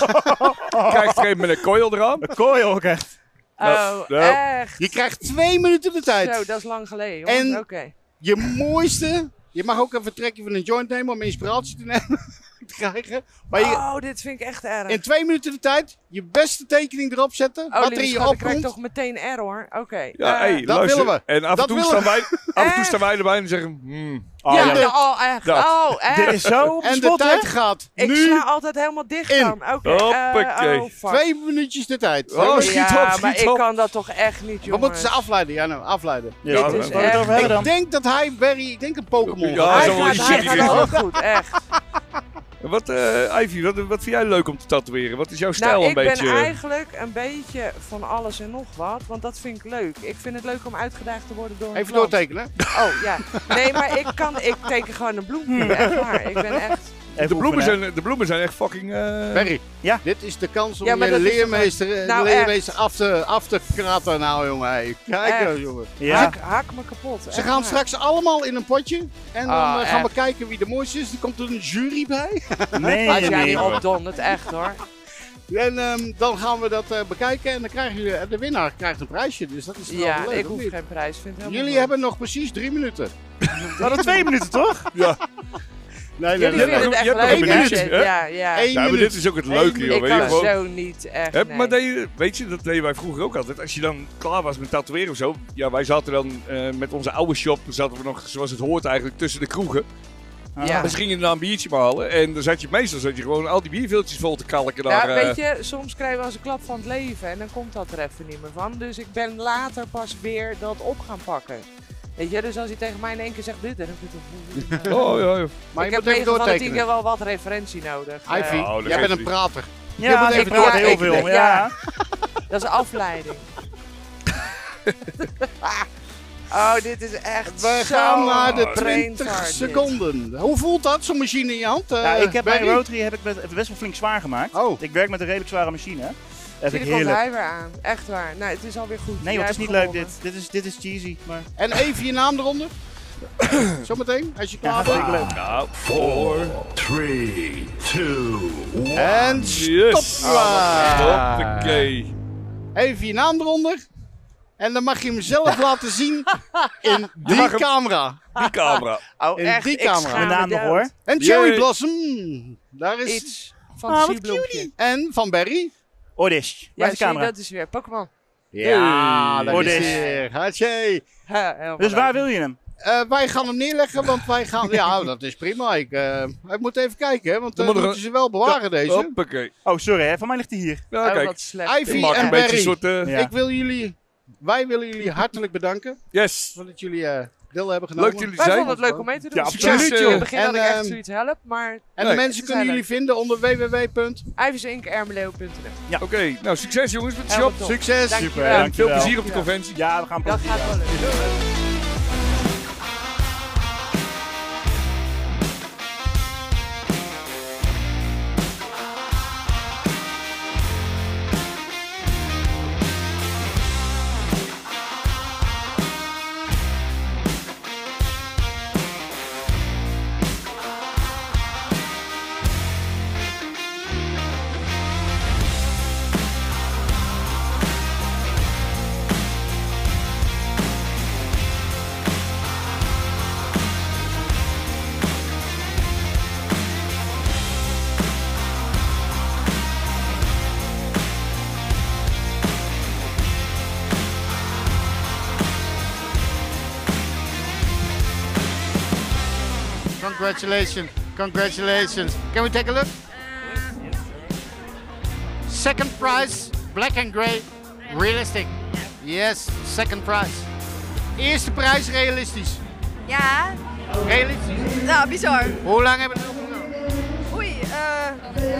C: krijgt er een met een coil eraan.
H: Kooi ook echt.
I: Oh,
C: nou.
I: echt.
A: Je krijgt twee minuten de tijd.
I: Zo, dat is lang geleden. jongens.
A: En-
I: Oké.
A: Je mooiste. Je mag ook even een trekje van een joint nemen om inspiratie te, nemen, te krijgen. Maar je,
I: Oh, dit vind ik echt erg.
A: in twee minuten de tijd je beste tekening erop zetten.
I: oh,
A: wat er in
I: lieve
A: je
I: schat, ik krijg
A: opkomt.
I: toch meteen error. Oké.
C: Ja,
I: eh,
C: hey,
A: dat
C: luister.
A: willen we. Eh.
C: En af en,
A: Dat
C: toe
A: willen
C: staan wij, af en toe
I: Echt?
C: staan wij erbij en zeggen... hmm,
H: Oh,
I: ja,
H: ja.
A: de-
I: oh, echt.
C: dat.
I: Oh, echt.
H: Dit is zo
A: en de
H: spot, hè?
A: tijd gaat
I: Ik
A: nu.
I: sla altijd helemaal dicht
A: in.
I: dan. Oké. eh,
C: Hoppakee.
I: oh, fuck.
A: Twee minuutjes de tijd.
C: Oh,
A: Jongens,
C: schiet
I: ja,
C: op, schiet
I: maar ik
C: op.
I: kan dat toch echt niet,
A: we
I: jongens.
A: moeten ze afleiden. Ja, nou, afleiden.
H: Ja,
I: Dit
H: we
I: is
H: gaan het over hebben
A: Ik
H: dan.
A: denk dat hij Barry, ik denk een Pokémon.
C: Ja,
A: gaat.
I: Hij
C: Oh, zo
I: gaat,
C: is
I: hij
C: het
I: gaat
C: hier.
I: wel goed, echt.
C: Wat, eh, Ivy, wat, wat vind jij leuk om te tatoeëren? Wat is jouw stijl
I: nou,
C: een
I: ik
C: beetje?
I: ben eigenlijk een beetje van alles en nog wat, want dat vind ik leuk. Ik vind het leuk om uitgedaagd te worden door een
A: Even
I: klant.
A: doortekenen.
I: Oh, ja. Nee, maar ik kan, ik teken gewoon een
C: Hmm.
I: bloempje, echt waar. Ik ben echt...
H: Even
C: de, bloemen
H: oefenen.
C: zijn, de bloemen zijn echt fucking... eh,
A: Barry,
H: Ja.
A: dit is de kans om
I: Ja, maar
A: je
I: dat is toch
A: leermeester, eh,
I: Nou,
A: de leermeester af, te, af te kratten. Nou jongen, hey. kijk
I: Echt.
A: eens jongen.
H: Ja.
I: Hak, hak me kapot.
A: Ze
I: echt
A: gaan
I: waar.
A: straks allemaal in een potje. En dan
I: Ah,
A: eh, gaan we
I: echt.
A: kijken wie de mooiste is. Er komt een jury bij.
H: Nee,
I: Als
H: nee,
I: jij
H: nee.
I: niet opdondert, echt hoor.
A: En ehm, dan gaan we dat eh, bekijken. En dan krijgen jullie, eh, de winnaar krijgt een prijsje. Dus dat is wel
I: Ja,
A: leuk.
I: ik
A: of
I: hoef
A: niet?
I: geen prijs. Vind het helemaal
A: Jullie
I: leuk.
A: hebben nog precies drie minuten.
H: We hadden twee minuten, toch?
A: Nee,
I: Jullie
C: hebt
I: vinden het
C: nog- je
I: echt
C: hebt nog
I: leuk.
C: een
I: hè?
C: minuutje, hè?
I: Ja, ja.
A: Eén
C: Ja, maar
A: minuut.
C: dit is ook het
A: Eén
C: leuke,
A: minuut.
C: joh.
I: Ik
C: Weet je,
I: kan
A: wel.
C: gewoon,
I: zo niet, echt
C: Hè,
I: nee.
C: Maar deed je- weet je, dat deden wij vroeger ook altijd. Als je dan klaar was met tatoeëren of zo. Ja, wij zaten dan eh, met onze oude shop, zaten we nog, zoals het hoort eigenlijk, tussen de kroegen.
I: Ja.
C: Dus ging je daarna een biertje maar halen. En dan zat je meestal zat je gewoon al die bierveeltjes vol te kalken.
I: Nou,
C: daar, eh,
I: weet je, soms krijgen we als een klap van het leven en dan komt dat er even niet meer van. Dus ik ben later pas weer dat op gaan pakken. Weet je, dus als hij tegen mij in één keer zegt dit, dan vind ik het...
C: Oh, ja, ja.
A: Maar
I: ik
A: je moet even
I: heb negen van de tien
A: doortekenen.
I: keer wel wat referentie nodig.
A: Ivy,
I: Eh,
C: Oh, dat
A: jij
C: geeft
A: bent een
C: niet.
A: prater. Je
H: Ja,
A: moet
H: ik
A: even
H: praat
I: door-
H: heel
I: ik-
H: veel.
I: ja.
H: Ja.
I: Eh, dat is een afleiding. Oh, dit is echt
A: We
I: zo
A: gaan naar de
I: brain
A: 20
I: fart, dit.
A: seconden. Hoe voelt dat, zo'n machine in je hand? eh,
H: Ja, ik heb mijn
A: Barry?
H: rotary heb ik best, best wel flink zwaar gemaakt.
A: Oh.
H: Ik werk met een redelijk zware machine. Dat vind
I: Zie,
H: ik
I: er komt
H: heerlijk.
I: hij weer aan. Echt waar. Nou, het is alweer goed.
H: Nee,
I: Jij
H: joh, het is
I: hebt
H: niet leuk
I: gewonnen.
H: dit. Dit is, dit is cheesy. Maar
A: En even je naam eronder. Zometeen, als je klaar bent.
H: hartstikke leuk.
C: Nou, voor.
A: En stop.
C: Yes. Hoppakee.
A: Even je naam eronder. En dan mag je hem zelf laten zien in die
C: mag hem-
A: camera.
C: Die camera.
I: Oh,
A: In
I: echt,
A: die
I: ik
A: camera.
I: schaam
H: Mijn
I: me
H: naam nog
I: dood.
H: hoor.
A: En Cherry
C: Yay.
A: Blossom. Daar is...
I: Iets
H: Ah,
I: van het
A: En Van Berry.
H: Odish. Waar
I: Ja,
H: Oh, is de
I: zie,
H: camera?
I: dat is weer Pokémon.
A: Ja, daar
H: Hoor
A: is
H: dit.
A: hij weer. Hatje.
I: Ha, helemaal
H: Dus waar
I: leuk.
H: wil je hem?
A: Eh, wij gaan hem neerleggen, want wij gaan... Ja, dat is prima. Ik, eh, ik moet even kijken, hè, want
C: Dan
A: eh,
C: moet er-
A: moeten ze wel bewaren, deze.
C: Hoppakee.
H: Oh, sorry hè. Van mij ligt hij hier.
C: Nou,
I: Oh,
C: kijk.
I: wat slecht.
A: Ivy
C: Ik maak
A: en
C: een beetje een
A: Barry.
C: soort... eh,
H: Ja.
A: Ik wil jullie... Wij willen jullie hartelijk bedanken
C: Yes.
A: dat jullie eh, deel hebben genomen.
C: Leuk dat jullie
I: Wij vonden
C: zijn.
I: het leuk om mee te doen. eh,
C: Ja,
A: Succes,
C: absoluut,
I: In
A: joh.
I: het begin had ik
A: En,
I: echt
A: ehm,
I: zoiets help, maar
A: En
C: Nee.
A: de mensen
I: Ze zijn
A: kunnen jullie vinden onder www.
I: ivysink.ermelo.nl.
C: Oké, nou succes jongens met de
I: Helemaal
C: shop.
I: top.
A: Succes!
I: Dankjewel.
C: En veel
H: Dankjewel.
C: plezier op de conventie.
H: Ja, we gaan
I: Dat
H: proberen.
I: gaat wel lukken.
A: Congratulations, congratulations. Can we take a look? Second prize, black and grey, realistic. Yes, second prize. Eerste prijs realistisch.
J: Ja,
A: Realistisch.
J: nou bizar.
A: Hoe lang hebben we het opgenomen?
J: Oei, eh,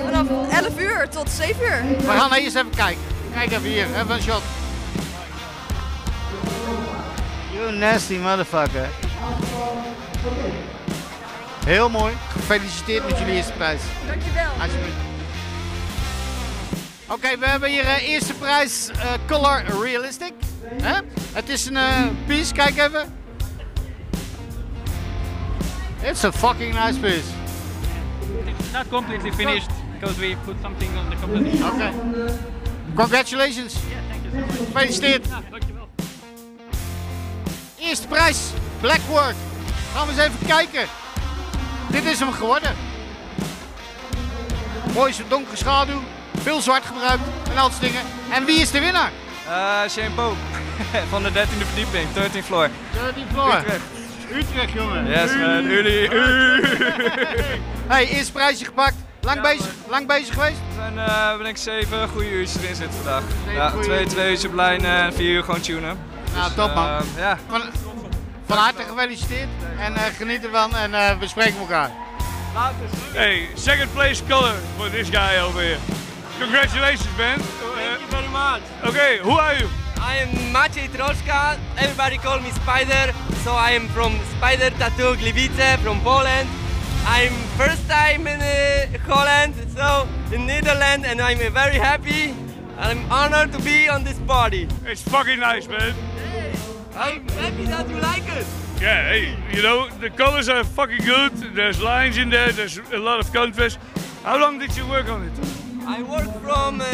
J: vanaf 11 uur tot 7 uur.
A: We gaan nou eerst even kijken. Kijk even hier, even een shot. You nasty motherfucker. Heel mooi. Gefeliciteerd met jullie eerste prijs.
J: Dankjewel.
A: Alsjeblieft. Oké, we hebben hier eh, eerste prijs eh, Color Realistic. Hè? Het is een eh, piece, kijk even. It's a fucking nice piece.
K: not completely finished because we put something on the competition.
A: Oké. Congratulations.
K: Yeah, thank you so much.
A: Gefeliciteerd.
L: Ah,
K: Ja, dankjewel.
A: Eerste prijs Blackwork. Gaan we eens even kijken. Dit is hem geworden. Mooi zo'n donkere schaduw. Veel zwart gebruikt en al dat soort dingen. En wie is de winnaar?
K: Uh, Shane Pope van de 13e verdieping, 13th floor.
A: Dirty Floor.
K: Utrecht.
A: Utrecht, jongen.
K: Yes man, jullie.
A: Hey, eerste prijsje gepakt. Lang,
K: Ja,
A: bezig, lang bezig geweest?
K: We zijn, eh, ben ik 7 goede uurtjes erin zitten vandaag.
A: Zeven
K: Ja,
A: goede
K: 2
A: uurtjes.
K: 2 uurtjes op lijn eh, en 4 uur gewoon tunen.
A: Nou, top man.
K: Eh, ja,
A: Van, van harte gefeliciteerd en eh, geniet ervan en eh, we spreken elkaar.
E: Hey, second place color for this guy over here. Congratulations, man. Thank you very much. Okay, who are you?
K: I am Maciej Troszka. Everybody call me Spider. So I am from Spider Tattoo Gliwice from Poland. I'm first time in uh, Holland, so in Netherlands, and I'm uh, very happy. I'm honored to be on this party.
E: It's fucking nice, man.
K: I'm happy that you like it.
E: Yeah, hey, you know, the colors are fucking good. There's lines in there, there's a lot of contrast. How long did you work on it?
K: I work from uh,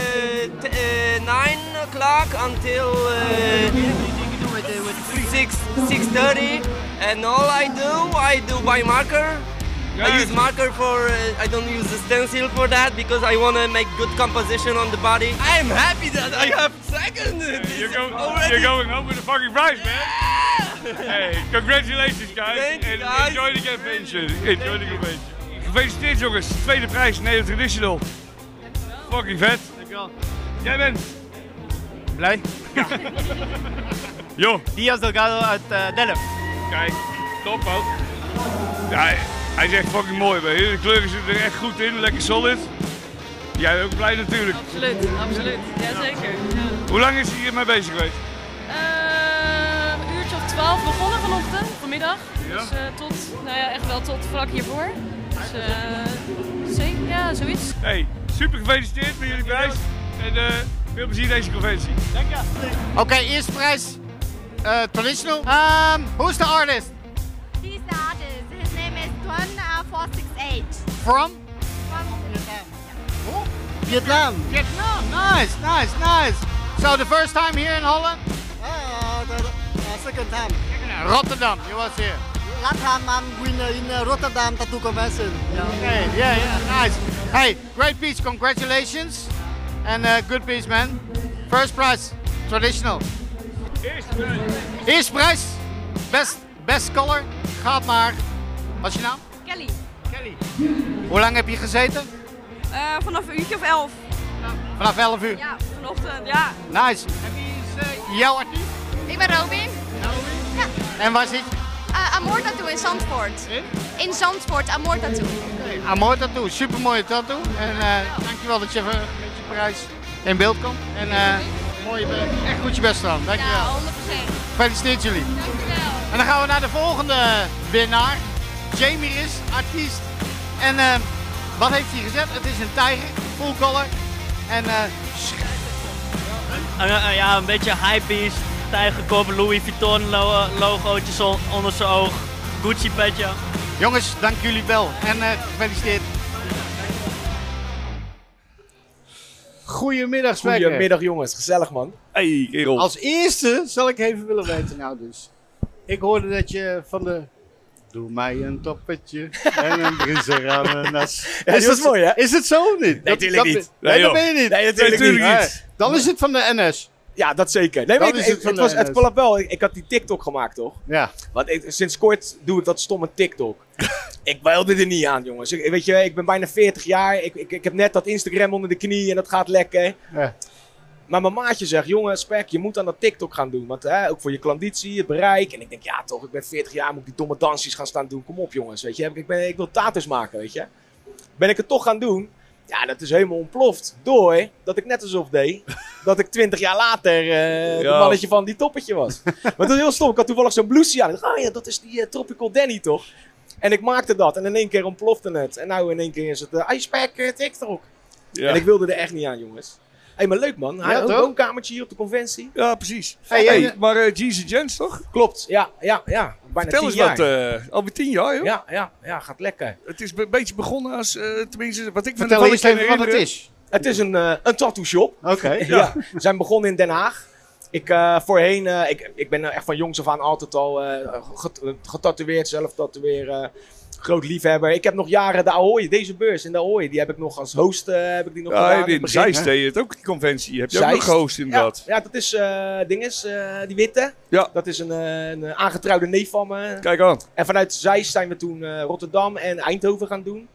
K: t- uh, nine o'clock until uh, six six thirty, and all I do I do by marker. I use marker for uh, I don't use a stencil for that because I want to make good composition on the body. I am happy that I have second. This
E: You're,
K: is
E: go-
K: already.
E: you're going home with a fucking prize, man. Hey, congratulations, guys.
K: Thank you,
E: and
K: guys.
E: Enjoy the convention. Enjoy the convention. Gefeliciteerd, jongens. Tweede prijs, Nederland Traditional. Fucking vet.
A: Dankjewel.
E: Jij bent...
K: Blij.
E: Joh.
K: Diaz Delgado uit uh, Delft.
E: Kijk, top ook. Ja, hij, hij is echt fucking mooi bij je. De kleuren zitten er echt goed in, lekker solid. Jij ook blij natuurlijk.
K: Absoluut, absoluut. Jazeker.
E: Hoe lang is hij hiermee bezig geweest?
M: Eh,
J: Een uurtje of 12.
M: 12 begonnen vanochtend, vanmiddag. Dus eh, tot, nou ja, echt wel tot vlak hiervoor. Dus eh, zeker, ja, zoiets.
E: Hey, super gefeliciteerd met jullie prijs. En eh, veel plezier deze conventie. Dank je.
A: Oké, eerste prijs. eh, traditional. Ehm, who's the artist?
N: He's the artist. His name is Tuan uh, 468.
A: From?
N: From Vietnam.
A: Vietnam. Vietnam. Nice, nice, nice. So the first time here in Holland?
O: Uh, the uh, second time.
A: Rotterdam. You was here.
O: Last time I'm winner in uh, Rotterdam tattoo convention. Yeah.
A: Hey, yeah, yeah, nice. Hey, great piece. Congratulations. And uh, good piece, man. First prize, traditional.
E: Eerste prijs.
A: Eerste prijs. Best, best color. Gaat maar. Wat is je naam?
P: Kelly. Kelly.
A: Hoe lang heb je gezeten?
P: Eh, vanaf een uurtje of elf.
A: Vanaf 11 uur.
P: Ja, vanochtend, ja.
A: Nice. Jouw artiest?
Q: Ik ben Robin. Ja,
A: En waar zit je?
Q: eh, Amor Tattoo in Zandvoort. In Zandvoort, Amor Tattoo.
A: Amor tattoo. Super mooie tattoo. En eh, dankjewel dat je even met je prijs in beeld komt. En eh, mooie, echt goed je best gedaan. Dankjewel.
Q: Ja,
A: 100%. Gefeliciteerd jullie. En dan gaan we naar de volgende winnaar. Jamie is artiest. En eh, wat heeft hij gezet? Het is een tijger, full color. En eh, sch-
L: Een, een- Eh, ja, een beetje hypebeast, tijgerkop, Louis Vuitton lo- logootjes on- onder zijn oog, Gucci petje.
A: jongens, dank jullie wel. En eh, gefeliciteerd. Goedemiddag, Spijker.
R: Goedemiddag jongens, gezellig man.
C: Hey kerel.
A: Als eerste zal ik even willen weten, nou dus. Ik hoorde dat je van de... Doe mij een toppetje en een briezer aan mijn nas.
R: Ja, die
A: Is
R: was
A: het-
R: mooi, hè?
A: Is het zo of niet?
R: Nee,
A: Dat-
R: natuurlijk
A: dat-
R: niet.
A: Nee, dat
R: Nee, joh.
A: ben je niet.
R: Nee, natuurlijk niet.
A: Nee, Dan is het van de NS.
R: Ja, dat zeker. Nee,
A: Dan
R: maar ik,
A: is het
R: ik-
A: van
R: het
A: de
R: was, het
A: NS.
R: klap wel. Ik, ik had die TikTok gemaakt, toch?
A: Ja.
R: Want ik- sinds kort doe ik dat stomme TikTok. ik wilde er niet aan, jongens. Ik, weet je, ik ben bijna 40 jaar. Ik, ik, ik heb net dat Instagram onder de knie en dat gaat lekker. Maar mijn maatje zegt, jongen, Spek, je moet aan dat TikTok gaan doen. Want hè, ook voor je klanditie, het bereik. En ik denk, ja toch, ik ben 40 jaar, moet ik die domme dansjes gaan staan doen. Kom op, jongens, weet je. Ik, ben, ik wil taters maken, weet je. Ben ik het toch gaan doen? Ja, dat is helemaal ontploft. Door dat ik net alsof deed dat ik 20 jaar later eh
C: Ja.
R: de mannetje van die toppetje was. maar dat is heel stom. Ik had toevallig zo'n blouseje aan. Ik dacht, oh ja, dat is die eh, Tropical Danny, toch? En ik maakte dat. En in één keer ontplofte het. En nou in één keer is het eh, Icepack eh, TikTok.
C: Ja.
R: En ik wilde er echt niet aan, jongens. Hé, hey, maar leuk man.
C: Ja,
R: Hij had
C: toch?
R: Nou, ook een kamertje hier op de conventie.
C: Ja, precies.
R: Hey,
C: Hey,
R: en, eh,
C: maar eh Jeezy Jens toch?
R: Klopt, ja, ja, ja. Bijna
C: Vertel
R: 10
C: eens
R: jaar.
C: wat, eh, alweer tien jaar joh.
R: Ja, ja, ja, gaat lekker.
C: Het is een beetje begonnen als, eh, tenminste, wat ik me
R: Vertel
C: ervan
R: eens
C: kan
R: even wat het
C: herinneren.
R: is. Het is een, eh een tattoo shop. Oké. ja. We zijn begonnen in Den Haag. Ik, eh, voorheen, eh, ik, ik ben echt van jongs af aan altijd al eh, get- getatoeëerd, zelf tatoeëren. Groot liefhebber. Ik heb nog jaren de Ahoy, deze beurs in de Ahoy, die heb ik nog als host eh, heb ik die nog gedaan.
C: Ja,
R: in het
C: in
R: begin.
C: Zeist deed je het ook, die conventie. Heb je ook nog
R: Zeist.
C: gehost inderdaad.
R: Ja, ja, dat is, eh ding is, eh, die witte.
C: Ja.
R: Dat is een, eh, een eh, aangetrouwde neef van me.
C: Kijk aan.
R: En vanuit Zeist zijn we toen eh, Rotterdam en Eindhoven gaan doen.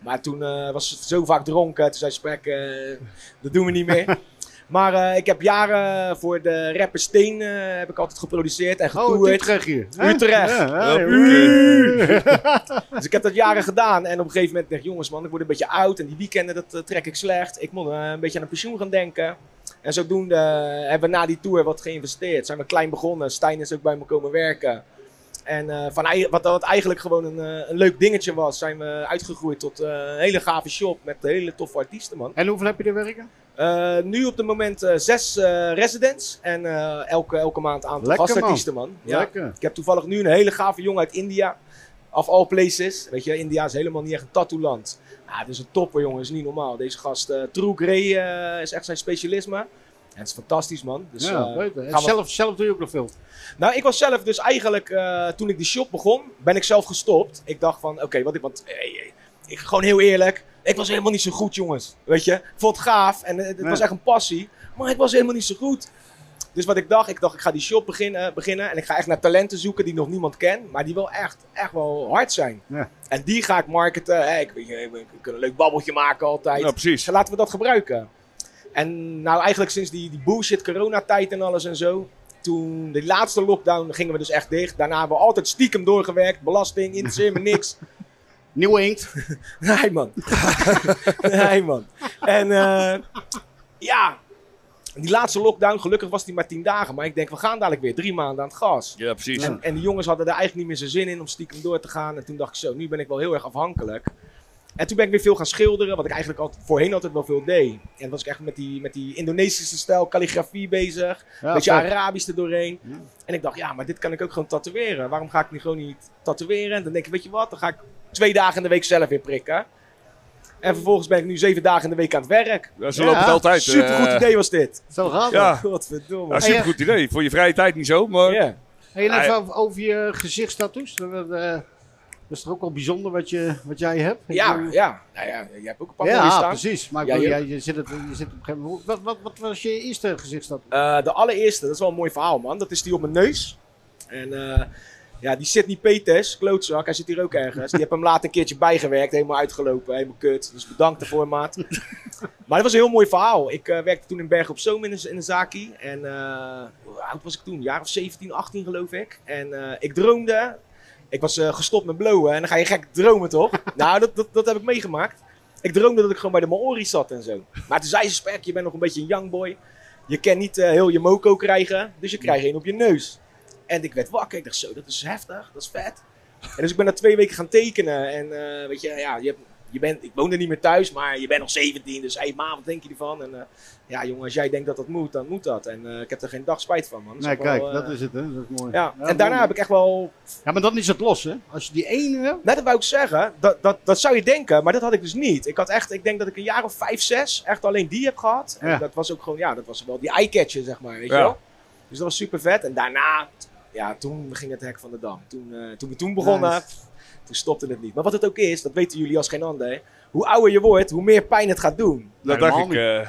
R: Maar toen eh, was het zo vaak dronken. Toen zei Spek, eh, dat doen we niet meer. maar eh, ik heb jaren voor de rapper Steen eh, heb ik altijd geproduceerd
A: Oh,
R: en getoerd.
A: Utrecht hier, hè?
R: Utrecht.
A: Ja, ja, ja.
R: dus ik heb dat jaren gedaan. En op een gegeven moment dacht ik, jongens man, ik word een beetje oud. En die weekenden, dat eh, trek ik slecht. Ik moet eh, een beetje aan een pensioen gaan denken. En zodoende eh, hebben we na die tour wat geïnvesteerd. Zijn we klein begonnen. Stijn is ook bij me komen werken. En eh, van, ei- wat, wat eigenlijk gewoon een, eh, een leuk dingetje was, zijn we uitgegroeid tot eh, een hele gave shop met hele toffe artiesten, man.
A: En hoeveel heb je er werken?
R: Eh, nu op dit moment eh, zes eh, residents en eh, elke, elke maand een aantal
A: Lekker,
R: gastartiesten, man.
A: man.
R: Ja.
A: Lekker.
R: Ik heb toevallig nu een hele gave jongen uit India, of all places. Weet je, India is helemaal niet echt een tattooland. Ah, dit is een topper, jongen. is niet normaal. Deze gast, eh True Grey, eh, is echt zijn specialisme. En het is fantastisch, man. Dus,
A: ja,
R: eh,
A: beter. En
R: gaan we-
A: zelf, zelf doe je ook nog veel.
R: nou, ik was zelf dus eigenlijk, eh, toen ik die shop begon, ben ik zelf gestopt. Ik dacht van, oké, wat ik, want, eh, eh, ik, gewoon heel eerlijk, ik was helemaal niet zo goed, jongens. Weet je, ik vond het gaaf en eh, het
C: Nee.
R: was echt een passie, maar ik was helemaal niet zo goed. Dus wat ik dacht, ik dacht, ik ga die shop beginnen, beginnen en ik ga echt naar talenten zoeken die nog niemand kent, maar die wel echt, echt wel hard zijn. En die ga ik marketen. Hey, ik, ik, ik, ik kan een leuk babbeltje maken altijd.
C: Ja,
R: precies. laten we dat gebruiken. En nou, eigenlijk sinds die, die bullshit coronatijd en alles en zo. Toen de laatste lockdown gingen we dus echt dicht. Daarna hebben we altijd stiekem doorgewerkt. Belasting, interesseer me niks. Nou,
A: Nieuwe inkt?
R: nee, man. nee, man. En eh, ja, Die laatste lockdown, gelukkig was die maar tien dagen. Maar ik denk, we gaan dadelijk weer drie maanden aan het gas.
C: Ja, precies.
R: En, en die jongens hadden er eigenlijk niet meer zijn zin in om stiekem door te gaan. En toen dacht ik zo, nu ben ik wel heel erg afhankelijk. En toen ben ik weer veel gaan schilderen, wat ik eigenlijk altijd, voorheen altijd wel veel deed. En dan was ik echt met die, met die Indonesische stijl, calligrafie bezig.
C: Ja,
R: Een beetje
C: vet.
R: Arabisch er doorheen. En ik dacht, ja, maar dit kan ik ook gewoon tatoeëren. Waarom ga ik nu gewoon niet tatoeëren? En dan denk ik, weet je wat, dan ga ik twee dagen in de week zelf weer prikken. En vervolgens ben ik nu zeven dagen in de week aan het werk.
C: Ja, zo loopt het altijd, eh. ah.
R: Supergoed idee was dit.
A: Zo gaat het.
C: Ja.
R: Godverdomme.
C: Ja, supergoed idee. Voor je vrije tijd niet zo, maar...
A: Hey, en
C: Ah,
A: even
C: ja.
A: over, over je gezichtstattoos. Dat, dat, eh, dat is toch ook wel bijzonder wat, je, wat jij hebt? Ik
R: Ja,
A: bedoel-
R: ja. Nou ja, jij hebt ook een paar
A: ja,
R: mooie staan.
A: precies. Maar ik
R: Ja,
A: bedoel,
R: je-
A: jij- je, zit het, je zit op een gegeven moment... Wat, wat, wat was je eerste gezichtstattoos?
R: Eh, de allereerste, dat is wel een mooi verhaal, man. Dat is die op mijn neus. En eh, ja, die Sidney Peters, klootzak, hij zit hier ook ergens. Die heb hem later een keertje bijgewerkt, helemaal uitgelopen, helemaal kut. Dus bedankt ervoor, maat. maar dat was een heel mooi verhaal. Ik eh, werkte toen in Bergen op Zoom in een, in een zaakie. En eh, hoe oud was ik toen? Een jaar of 17, 18 geloof ik. En eh, ik droomde. Ik was eh, gestopt met blowen en dan ga je gek dromen, toch? nou, dat, dat, dat heb ik meegemaakt. Ik droomde dat ik gewoon bij de Maori's zat en zo. Maar toen zei ze, Spek, je bent nog een beetje een young boy. Je kan niet eh, heel je moco krijgen, dus je krijgt één op je neus. En ik werd wakker. Ik dacht zo, dat is heftig, dat is vet. En dus ik ben na twee weken gaan tekenen. En eh, weet je, ja, je, hebt- je bent, ik woonde niet meer thuis, maar je bent nog 17. Dus hey, ma, wat denk je ervan? En eh, ja, jongen, als jij denkt dat dat moet, dan moet dat. En eh, ik heb er geen dag spijt van, man. Dat is
A: Nee,
R: ook wel,
A: kijk,
R: eh,
A: dat is het, hè. Dat is mooi.
R: Ja, en daarna heb ik echt wel...
A: Ja, maar dan is het los, hè? Als je die ene hebt...
R: Nou, dat wou ik zeggen. Dat, dat, dat zou je denken, maar dat had ik dus niet. Ik had echt, ik denk dat ik een jaar of vijf, zes echt alleen die heb gehad. En
A: Ja.
R: dat was ook gewoon, ja, dat was wel die eyecatcher, zeg maar, weet
C: Ja.
R: je wel. Dus dat was super vet. En daarna, ja, toen ging het hek van de dam. Toen, eh, toen we toen begonnen,
C: Nice.
R: pff, toen stopte het niet. Maar wat het ook is, dat weten jullie als geen ander, hè. hoe ouder je wordt, hoe meer pijn het gaat doen.
C: Dat dacht ik. eh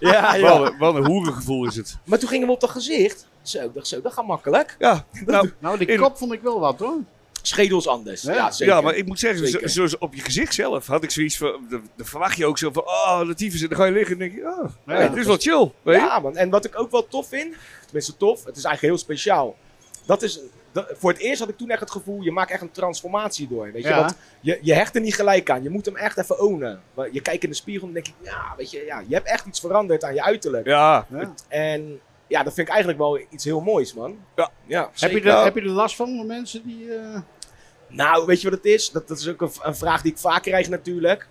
R: ja, ja.
C: Wat, een, wat een hoerengevoel is het.
R: Maar toen gingen we op dat gezicht. Zo, ik dacht zo, dat gaat makkelijk.
C: Ja, nou,
A: die
C: in-
A: kop vond ik wel wat, hoor.
R: Schedels anders. Ja, zeker.
C: Ja, maar ik moet zeggen, zo-
R: Zeker.
C: zoals op je gezicht zelf had ik zoiets van... Dan dan verwacht je ook zo van, oh, dat tyfus. En dan ga je liggen en denk je, oh, hey, dit is wel chill. Weet je?
R: ja, man. En wat ik ook wel tof vind, tenminste tof, het is eigenlijk heel speciaal. Dat is, dat- voor het eerst had ik toen echt het gevoel, je maakt echt een transformatie door. Weet je?
C: Ja.
R: Want je, je hecht er niet gelijk aan, je moet hem echt even ownen. Maar Je kijkt in de spiegel en denk je, ja, weet je, ja, je hebt echt iets veranderd aan je uiterlijk.
C: Ja.
R: En ja, dat vind ik eigenlijk wel iets heel moois, man.
C: Ja,
R: ja
A: Heb je,
R: zeker.
A: er, heb je er last van, van mensen die... eh,
R: Nou, weet je wat het is? Dat, dat is ook een, v- een vraag die ik vaak krijg natuurlijk.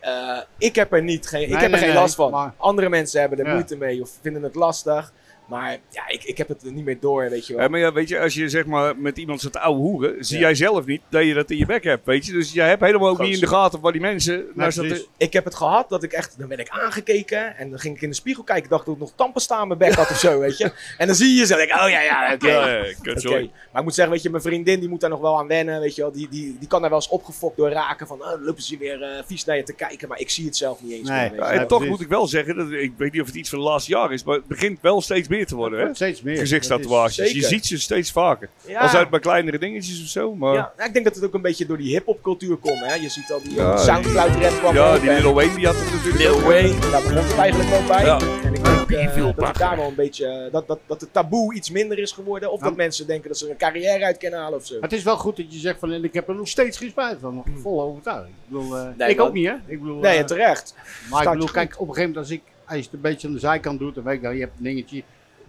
R: Eh, ik heb er, niet, geen, ik
A: Nee,
R: heb er
A: nee,
R: geen
A: nee,
R: last van.
A: maar-
R: Andere mensen hebben er
C: Ja.
R: moeite mee of vinden het lastig. Maar ja, ik, ik heb het er niet meer door, weet je wel.
C: Ja, maar ja, weet je, als je zeg maar met iemand zit ouwe hoeren, zie jij zelf niet dat je dat in je bek hebt, weet je. Dus jij hebt helemaal ook niet in de gaten waar die mensen naar
R: precies.
C: zitten.
R: Ik heb het gehad dat ik echt, dan ben ik aangekeken en dan ging ik in de spiegel kijken. Ik dacht dat ik nog tampen staan aan mijn bek had of zo, weet je. En dan zie je ze, denk ik, oh ja, ja, oké.
C: Ja, ja, kut,
R: Oké.
C: sorry.
R: Maar ik moet zeggen, weet je, mijn vriendin die moet daar nog wel aan wennen, weet je wel. Die, die, die kan daar wel eens opgefokt door raken van, oh, dan lopen ze weer eh, vies naar je te kijken. Maar ik zie het zelf niet eens meer, weet je.
C: Ja, en toch moet ik wel zeggen, dat, ik weet niet of het iets van het laatste jaar is, maar het begint wel steeds meer te worden. Hè?
R: wordt steeds meer. Dat
C: Gezichtstatoeages.
R: is-
C: Je
R: Zeker.
C: ziet ze steeds vaker.
R: Ja.
C: Als uit bij kleinere dingetjes of zo. Maar...
R: Ja, nou, ik denk dat het ook een beetje door die hip-hop cultuur komt. Hè? Je ziet al die
C: Ja,
R: eh, Soundcloud rap kwam
C: Ja,
R: op
C: die
R: en-
C: Lil Wayne die had het natuurlijk.
R: Lil
C: ook, hè.
R: Wayne, daar begon het eigenlijk wel bij.
C: Ja.
R: En ik denk eh, dat het daar wel een beetje. eh, dat, dat, dat het taboe iets minder is geworden. Of dat mensen denken dat ze er een carrière uit kunnen halen of zo.
A: Het is wel goed dat je zegt van... en ik heb er nog steeds geen spijt van. Volle overtuiging. Ik, bedoel, eh,
R: Nee,
A: ik
R: man.
A: ook niet, hè? Ik bedoel,
R: Nee,
A: eh,
R: terecht.
A: Maar ik
R: Staat
A: bedoel,
R: je
A: kijk, op een gegeven moment als ik... Als je het een beetje aan de zijkant doet, dan weet ik dat je hebt een dingetje.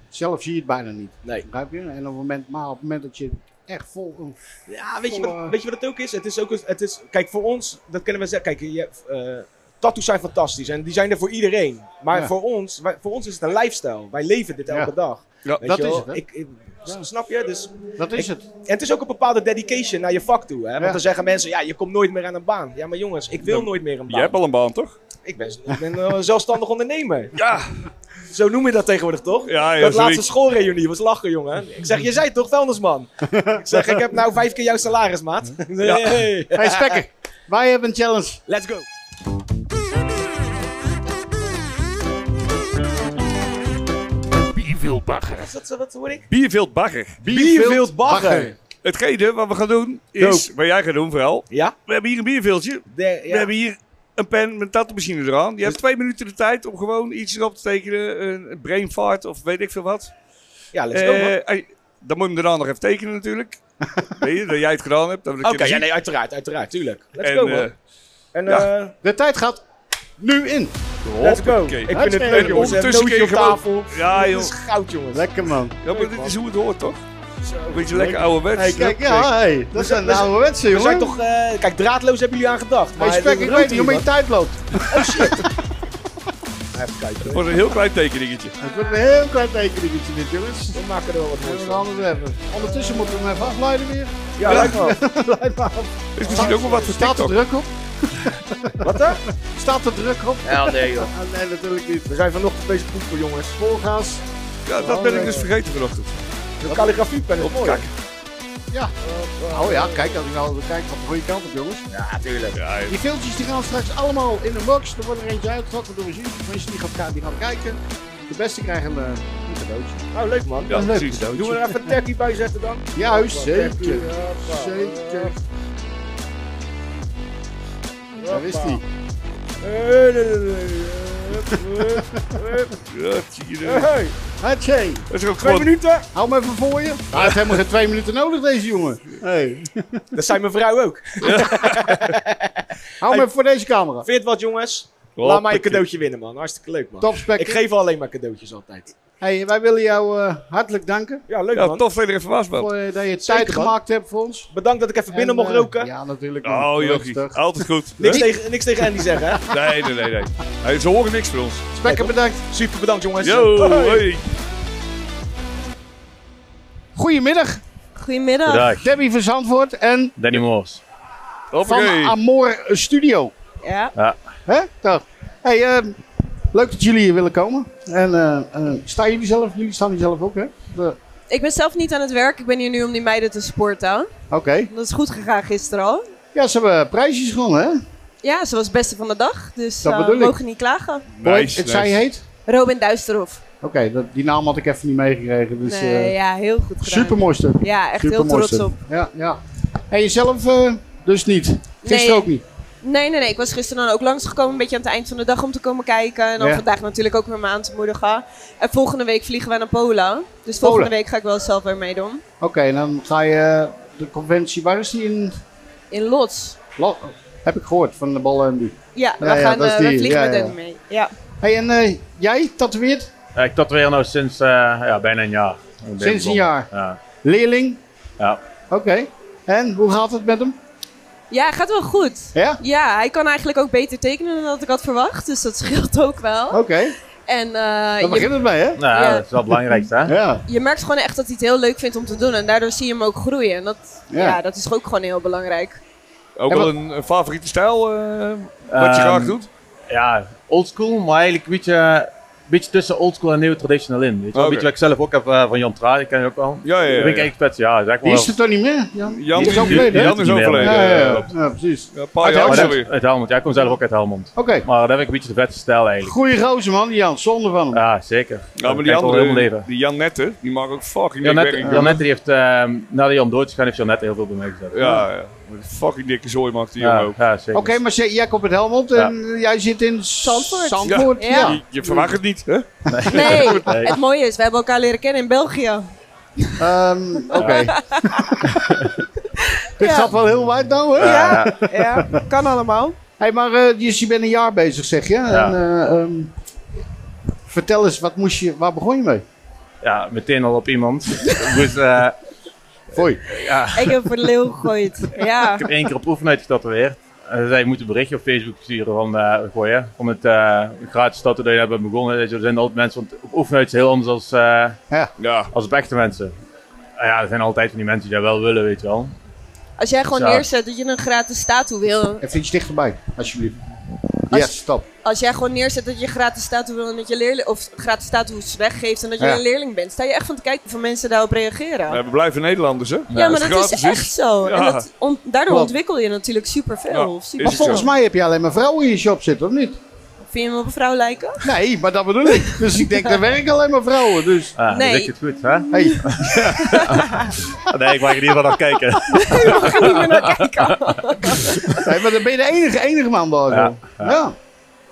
A: Zelf zie je het bijna niet.
R: Nee.
A: Begrijp je? En op het moment, maar op het moment dat je echt vol... een
R: Ja, weet je,
A: volle-
R: wat, weet je wat het ook is? Het is ook een- het is, kijk, voor ons, dat kunnen we zeggen. Kijk, je, eh, tattoos zijn fantastisch en die zijn er voor iedereen. Maar
C: Ja.
R: voor, ons, wij- voor ons is het een lifestyle. Wij leven dit elke dag.
C: Ja,
R: Weet
C: dat
R: je wel?
C: is het, hè?
R: Ik, ik- s- Snap je? Dus,
A: dat is
R: het. En het is ook een bepaalde dedication naar je vak toe. Hè? Want dan zeggen mensen, ja, je komt nooit meer aan een baan. Ja, maar jongens, ik wil
C: Dan-
R: nooit meer een
C: Je
R: baan.
C: hebt al een baan, toch?
R: Ik ben, ik ben eh, een zelfstandig ondernemer.
C: Ja.
R: Zo noem je dat tegenwoordig, toch?
C: Ja, ja,
R: dat laatste
C: zoiets.
R: schoolreunie was lachen, jongen. Ik zeg, je zei toch vuilnisman? ik zeg, ik heb nou vijf keer jouw salaris, maat.
A: Ja. Hey, Spekker, wij hebben een challenge.
R: Let's go.
C: Bierveld Bagger.
R: Wat, wat, wat hoor ik?
C: Bierveld Bagger.
R: Bierveld Bagger.
C: Hetgene wat we gaan doen is, wat jij gaat doen vooral.
R: Ja?
C: We hebben hier een bierveeltje.
R: We
C: hebben hier een pen met een tattoo-machine eraan. Je hebt
R: Dus-
C: twee minuten de tijd om gewoon iets erop te tekenen. Een een brain fart of weet ik veel wat.
R: Ja, let's go,
C: Eh,
R: man.
C: Dan moet je hem daarna nog even tekenen natuurlijk. Weet je, dat jij het gedaan hebt.
R: Oké, ja,
C: eh,
R: nee, uiteraard, uiteraard, tuurlijk. Let's
C: En,
R: go, man.
C: eh,
R: en,
C: ja.
R: eh,
A: De tijd gaat nu in.
C: Let's go. Ik vind het leuk, jongens. Ondertussen kun je
R: op
C: gewoon-
R: tafel.
C: Ja,
R: Dit
C: joh.
R: is goud, jongens.
C: Lekker,
A: man.
C: Ja, maar dit is hoe het hoort, toch? Een beetje lekker ouderwets.
A: Hey, kijk, ja, hey. Dat
C: We
A: zijn
C: we
A: ouderwetse,
C: we
A: jongen.
C: zijn
R: toch, eh, kijk, draadloos hebben jullie aan gedacht.
A: Hey,
R: Maar
A: Spek, ik weet niet hoe je tijd loopt.
R: Even kijken.
C: Het wordt een heel klein tekeningetje.
A: Het wordt een heel klein tekeningetje dit, jongens.
R: We maken er wel wat
A: moois hebben. Ondertussen moeten we hem even afleiden weer.
C: Ja, lijkt me
A: Lijkt me af.
C: Is misschien ook wel wat voor
A: Staat er
C: TikTok.
A: druk op?
R: Wat dan?
A: Staat er druk op?
R: Ja, nee, joh.
A: Ah, nee, natuurlijk niet.
R: We zijn vanochtend bezig poepen, jongens.
A: Volgaans.
C: Ja, dat ben ik dus vergeten vanochtend.
R: De calligrafiepen is mooi.
C: Kijk.
A: Ja. Oh ja, kijk, als ik nou kijk van de goede kant op, jongens.
R: Ja, tuurlijk.
A: Die filmpjes die gaan straks allemaal in een box. Er wordt er eentje uitgetrokken door een jury. Mensen die gaan, ka- die gaan kijken. De beste krijgen een, eh, een cadeautje.
R: Nou, leuk man.
A: Ja, Een leuk precies.
R: Doen
A: cadeautje.
R: we er even een techie bij zetten dan?
A: Juist,
R: Hoppa,
A: zeker.
R: techie, hoppa.
A: Zeker. Daar is die.
R: Eh, Hey, hey, Eh, hey, hey, hey.
C: Ja, zie je
R: Hey,
C: er.
R: hey.
A: Hatsé.
C: Dat is ook
R: Twee
C: gewoon-
R: minuten.
A: Hou hem even voor je. Hij heeft helemaal geen twee minuten nodig, deze jongen. Hey.
R: Dat zijn mijn vrouw ook.
A: Hou hem even voor deze camera.
R: Vind je het wat, jongens? Laat
A: Hoppakee.
R: mij een cadeautje winnen, man. Hartstikke leuk, man.
A: Top spek.
R: Ik geef alleen maar cadeautjes altijd.
A: Hey, wij willen jou eh, hartelijk danken.
R: Ja, leuk,
C: Ja,
R: man.
C: tof dat je er even was,
A: Voor
C: man.
A: eh, dat je tijd
R: Zeker, man.
A: gemaakt hebt voor ons.
R: Bedankt dat ik even binnen
A: En,
R: mocht
A: eh,
R: roken.
A: Ja, natuurlijk. man.
C: Oh, jochie.
A: Rustig.
C: Altijd goed.
R: Niks,
C: Hè?
R: tegen, niks tegen Andy zeggen, hè?
C: Nee, nee, nee. nee. Hey, Ze horen niks van ons.
A: Spekker, bedankt.
R: Super bedankt, jongens.
C: Yo, hoi.
A: Goedemiddag.
S: Goedemiddag.
A: Dag. Debbie van Zandvoort en
S: Danny Moors.
A: van Amor Studio.
S: Ja.
A: ja. Hè? Toch. Hey, eh, leuk dat jullie hier willen komen. En eh, eh, staan jullie zelf? Jullie staan hier zelf ook, hè? De-
S: Ik ben zelf niet aan het werk. Ik ben hier nu om die meiden te supporten.
A: Oké.
S: Dat is goed gegaan gisteren al.
A: Ja, ze hebben eh, prijsjes gewonnen, hè?
S: Ja, ze was het beste van de dag. Dus
A: Dat
S: eh, we
A: bedoel ik.
S: mogen niet klagen.
A: Hoe heet- het zij heet?
S: Robin Duisterhof.
A: Oké, dat- die naam had ik even niet meegekregen. Dus,
S: nee,
A: eh,
S: ja, heel goed gedaan.
A: Supermooi stuk.
S: Ja, echt heel
A: Supermooi
S: trots
A: stuk.
S: op.
A: Ja, ja. En jezelf eh, dus niet? Gisteren
S: Nee.
A: ook niet?
S: Nee, nee, nee. Ik was gisteren dan ook langsgekomen, een beetje aan het eind van de dag om te komen kijken. En dan
A: Ja.
S: vandaag natuurlijk ook weer me aan te moedigen. En volgende week vliegen we naar Polen. Dus volgende
A: Polen.
S: week ga ik wel zelf weer meedoen.
A: Oké, en dan ga je eh, de conventie, waar is die in?
S: In Lots.
A: Lo- heb ik gehoord van de ballen en die.
S: Ja, we,
A: Ja, ja,
S: gaan,
A: dat is
S: eh,
A: die.
S: we vliegen
A: Ja,
S: met
A: ja.
S: hen mee. Ja.
A: Hey, en eh, jij tatoeëert?
D: Ja, ik tatoeëer nu sinds eh, ja, bijna een jaar. Ik ben
A: Sinds een
D: begonnen.
A: jaar?
D: Ja.
A: Leerling?
D: ja.
A: Oké. En hoe gaat het met hem?
S: Ja, gaat wel goed.
A: Ja?
S: Ja, hij kan eigenlijk ook beter tekenen dan dat ik had verwacht. Dus dat scheelt ook wel.
A: Oké.
S: En eh,
A: Daar begint
S: je,
A: het mee, hè?
D: Nou,
S: Ja.
D: dat is wel het belangrijkste, hè?
A: ja.
S: je merkt gewoon echt dat hij het heel leuk vindt om te doen. En daardoor zie je hem ook groeien. En dat,
D: Ja.
S: ja. dat is ook gewoon heel belangrijk.
C: Ook
D: En
C: wel
D: wat-
C: een, een favoriete stijl eh, wat je graag doet?
D: Ehm, Ja, oldschool, maar eigenlijk een beetje, een beetje tussen oldschool en nieuw traditional in. Weet je wel?
C: Oké.
D: Een beetje wat ik zelf ook heb eh, van Jan Traai, ken je ook al.
C: Ja, ja, ja,
D: Dat vind ik
C: ja.
D: echt vet, ja. Zeg maar
A: Die is er toch niet meer? Jan,
D: Jan
A: Die
D: is-
A: overleden, hè?
D: Jan is overleden,
A: Ja, ja,
D: ja,
A: ja.
D: klopt.
A: ja precies.
C: Ja, een
A: jaar
D: Uit Helmond.
A: geleden.
D: Uit Helmond, ja. Ik kom zelf ook uit Helmond.
A: Oké.
D: Maar dat heb ik een beetje de vetste stijl eigenlijk.
A: Goeie gozer, man, die Jan. Zonde van hem.
D: Ja, zeker.
C: Ja, maar die andere, die Janette, die mag ook fucking dik
D: Janette,
C: werk doen.
D: Janette die heeft, ehm nadat Jan dood is gegaan, heeft Janette heel veel bij mij gezet.
C: Ja, ja. Wat een Fucking dikke zooi maakt die
D: Ja,
C: jongen ook.
D: ja, zeker.
A: Oké, maar ze- jij komt uit Helmond en jij zit in Zandvoort. Zandvoort, ja.
C: Je, je verwacht het niet, hè?
S: Nee, het mooie is, we hebben elkaar leren kennen in België.
A: Ehm, Oké. Dit
S: Ja.
A: gaat wel heel wijd nou, hè?
S: Ja, ja, kan allemaal.
A: hey, maar eh, dus je bent een jaar bezig, zeg je. En, eh, ehm, vertel eens, wat moest je, waar begon je mee?
D: Ja, meteen al op iemand. dus, eh
A: Hoi.
D: Ja.
S: Ik heb voor de leeuw gegooid. Ja.
D: Ik heb één keer op oefenheid getatoeëerd. En ze zei, je moet een berichtje op Facebook sturen van eh, gooien. Om het eh gratis tattoo dat je hebt begonnen. Weet je, Er zijn altijd mensen, want op oefenheid is heel anders dan
A: ja.
D: als op echte mensen. En ja, er zijn altijd van die mensen die dat wel willen, weet je wel.
S: Als jij gewoon
D: Zo.
S: neerzet dat je een gratis tattoo wil.
A: Even iets dichterbij, alsjeblieft. Yes, stop.
S: Als jij gewoon neerzet dat je gratis tattoo wil en dat je leerling, of gratis tattoos weggeeft en dat je
C: Ja.
S: een leerling bent, sta je echt van te kijken of mensen daarop reageren.
C: Nee, we blijven Nederlanders, hè?
S: Ja, maar dat is echt zo. En dat ont- daardoor
A: Klopt.
S: ontwikkel je natuurlijk superveel.
C: Ja,
S: Super
A: Maar volgens mij heb je alleen maar vrouwen in je shop zitten, of niet?
S: Vind je me op een vrouw lijken?
A: Nee, maar dat bedoel ik. Dus ik denk, daar werken alleen maar vrouwen. Dus.
D: Ah,
S: Nee.
D: Dan lukt het goed, hè?
A: Hey.
D: nee, ik mag er in ieder geval naar kijken.
A: Nee, maar dan ben je de enige, enige man daar. Ja. ja.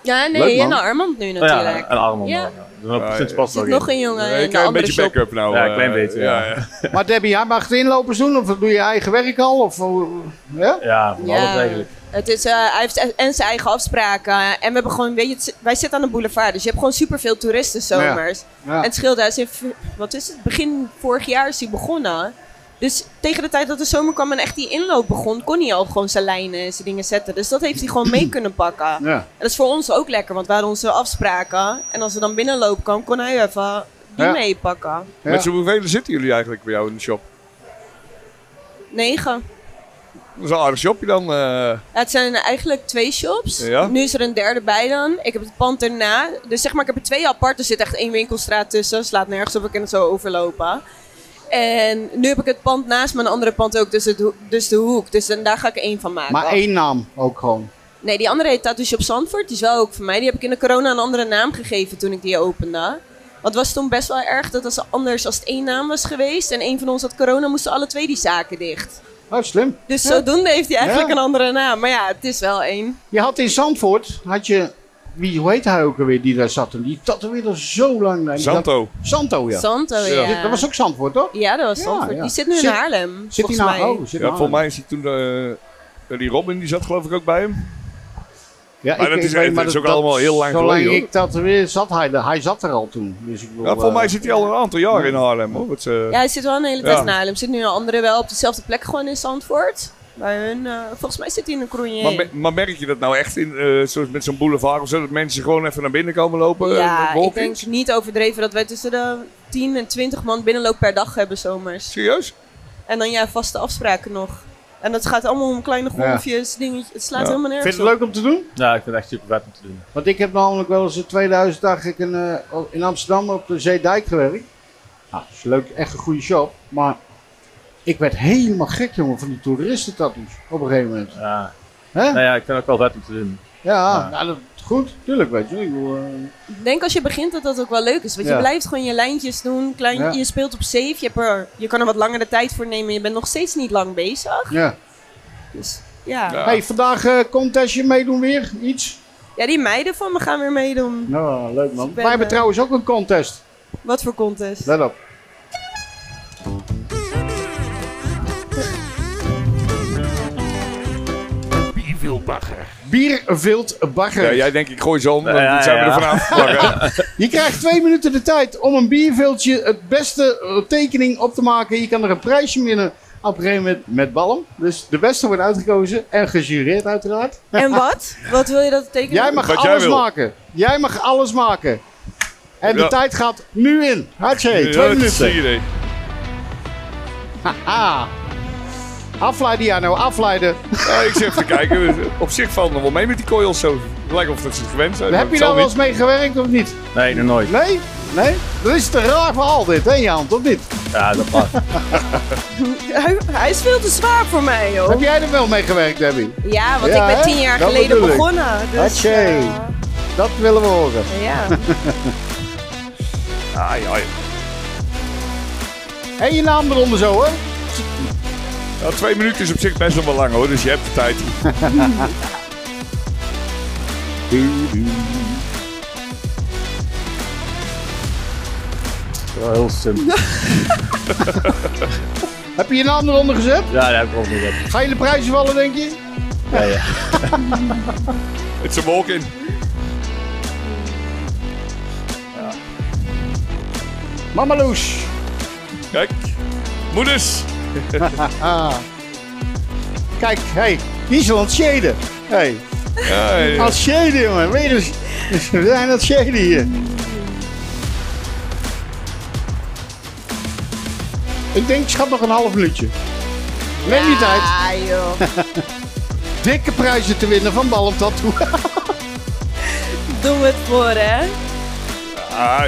S: Ja, nee,
D: Leuk, man.
S: en een Armand nu
D: Ja,
S: natuurlijk.
D: en Armand.
S: Ja.
D: Ja. Dan
C: Ja,
D: sinds
C: ja.
D: pas
S: Zit
D: in.
S: nog een jongen
C: Nee,
S: in
C: ik heb
S: de
C: een
S: andere
C: beetje
S: shop.
C: backup nou.
D: Ja,
C: eh,
D: klein beetje, ja.
A: Maar Debbie, jij mag het inlopers doen? Of doe je eigen werk al? Of, eh, ja?
D: Ja, van alles eigenlijk.
S: Het is, eh, hij heeft e- en zijn eigen afspraken. eh, En we hebben gewoon, weet je, het zi- wij zitten aan de boulevard, dus je hebt gewoon superveel toeristen zomers.
T: Ja, ja.
S: En het scheelt, hij is in, v- wat is het, begin vorig jaar is hij begonnen. Dus tegen de tijd dat de zomer kwam en echt die inloop begon, kon hij al gewoon zijn lijnen en zijn dingen zetten. Dus dat heeft hij gewoon mee kunnen pakken. En dat is voor ons ook lekker, want we hadden onze afspraken. En als er dan binnenloop kwam, kon hij even die
C: Ja.
S: meepakken.
C: Met hoeveel zitten jullie eigenlijk bij jou in de shop?
S: Negen.
C: Dat is een aardig shopje dan. eh.
S: Ja, het zijn eigenlijk twee shops.
C: Ja.
S: Nu is er een derde bij dan. Ik heb het pand erna. Dus zeg maar, ik heb er twee apart. Er zit echt één winkelstraat tussen. Slaat nergens op. Ik kan het zo overlopen. En nu heb ik het pand naast mijn andere pand ook. Dus, het, ho- dus de hoek. Dus dan, daar ga ik één van maken.
A: Maar één naam ook gewoon.
S: Nee, die andere heet Tattoo Shop Zandvoort. Die is wel ook van mij. Die heb ik in de corona een andere naam gegeven toen ik die opende. Want het was toen best wel erg dat als anders als het één naam was geweest en één van ons had corona, moesten alle twee die zaken dicht.
A: Oh, slim.
S: Dus
A: Ja.
S: zodoende heeft hij eigenlijk
A: Ja.
S: een andere naam. Maar ja, het is wel één.
A: Je had in Zandvoort, had je, wie, hoe heet hij ook alweer die daar zat? En die tatoeëerde al zo lang. bij. Die
C: Santo.
A: zat- Santo, ja.
S: Santo, ja.
A: Dat was ook Zandvoort, toch?
S: Ja, dat was
A: Ja,
S: Zandvoort.
A: ja.
S: Die zit nu in
A: Zit-
S: Haarlem.
A: zit hij
S: volgens
A: nou-
S: mij.
A: oh, zit
C: ja,
A: nou
C: voor
A: aan.
C: mij is hij toen. eh, die Robin die zat geloof ik ook bij hem.
A: Ja,
C: maar dat is,
A: weet,
C: het
A: maar
C: is
A: dat-
C: ook allemaal
A: dat-
C: heel lang
A: zolang
C: geleden. hoor.
A: ik tatoeëerde, zat hij er. Hij zat er al toen. Dus ik bedoel,
C: Ja, voor
A: eh,
C: mij zit hij al een aantal jaar in Haarlem hoor. Het, eh,
S: Ja, hij zit wel een hele tijd
C: Ja.
S: in Haarlem. Zit nu een andere wel op dezelfde plek gewoon in Zandvoort. Bij hun, eh, volgens mij zit hij in een
C: Maar,
S: Crouillet.
C: me- maar merk je dat nou echt in, eh, zoals met zo'n boulevard of zo, dat mensen gewoon even naar binnen komen lopen?
S: Ja,
C: eh, met
S: ik denk
C: walkies?
S: niet overdreven dat wij tussen de 10 en 20 man binnenloop per dag hebben zomers.
C: Serieus?
S: En dan ja, vaste afspraken nog. En dat gaat allemaal om kleine
A: Ja.
S: golfjes, dingetjes. Het slaat
A: Ja.
S: helemaal
A: Vind
S: nergens
A: je het leuk om te doen?
D: Ja, ik vind het echt super vet om te doen.
A: Want ik heb namelijk wel eens in 2000 dacht ik in, eh, in Amsterdam op de Zeedijk gewerkt. Nou, dat is leuk, echt een goede shop. Maar ik werd helemaal gek, jongen, van die toeristen tattoos op een gegeven moment.
D: Ja.
A: Hè?
D: Nou ja, ik vind het ook wel vet om te doen.
A: Ja,
D: Ja.
A: nou, dat, goed, tuurlijk, weet je. Ik bedoel, eh,
S: Ik denk als je begint dat dat ook wel leuk is. Want
A: Ja.
S: je blijft gewoon je lijntjes doen. Klein,
A: Ja.
S: Je speelt op safe. Je, hebt er, je kan er wat langere tijd voor nemen. Je bent nog steeds niet lang bezig.
A: ja.
S: Ja.
A: Hey, vandaag eh contestje meedoen weer, iets?
S: Ja, die meiden van me gaan weer meedoen.
A: Nou, leuk man.
S: Ik ben,
A: Wij hebben
S: eh,
A: trouwens ook een contest.
S: Wat voor contest?
A: Let op.
C: Bierviltbagger.
A: Bierviltbagger.
C: Ja, jij denkt ik gooi ze om,
A: Ja,
C: want
A: ja,
C: dan zijn we er
A: ja.
C: vanaf. Maar, eh,
A: Je krijgt twee minuten de tijd om een bierviltje het beste eh, tekening op te maken. Je kan er een prijsje winnen op een gegeven moment met balm. Dus de beste wordt uitgekozen en gejureerd uiteraard.
S: En wat? Wat wil je dat het tekenen?
A: Jij mag
C: Wat jij
A: alles
C: wil.
A: maken. Jij mag alles maken. En de
C: Ja.
A: tijd gaat nu in. Hartje,
C: ja,
A: twee
C: eh, dat is een
A: minuten.
C: idee.
A: Haha. Afleiden, ja nou, afleiden.
C: Ja, ik zit even te kijken. Op zich valt nog wel mee met die coils zo. Lijkt of dat ze het gewend zijn.
A: Heb je
C: daar
A: daar wel eens mee gewerkt of niet?
D: Nee, nog nooit.
A: Nee? Nee? Dat is te raar verhaal dit, hè Jan, of niet?
D: Ja, dat past.
S: Hij, hij is veel te zwaar voor mij, joh.
A: Heb jij er wel mee gewerkt, Debbie?
S: Ja, want ik ben tien jaar geleden begonnen. Dus,
A: Oké, dat willen we horen.
S: Ja.
C: Ai, ai.
A: En je naam eronder zo, hoor.
C: Ja, twee minuten is op zich best nog wel lang hoor, dus je hebt de tijd.
D: Wel heel simpel.
A: Heb je je naam eronder gezet?
D: Ja, dat heb ik ook niet gezet.
A: Ga je de prijzen vallen, denk je?
D: Ja, ja.
C: Het is een wolk in.
A: Mama Loes.
C: Kijk, moeders.
A: Ah. Kijk, hé, hey, die is al aan het shaden. Hey.
C: Ja, ja.
A: Aan het shaden, jongen. Weet je, dus- dus we zijn aan het shaden hier. Ik denk, schat, nog een half minuutje. Neem je tijd.
S: Ja, Ah, joh.
A: Dikke prijzen te winnen van Balm Tattoo.
S: Doe het voor, hè.
C: Ah,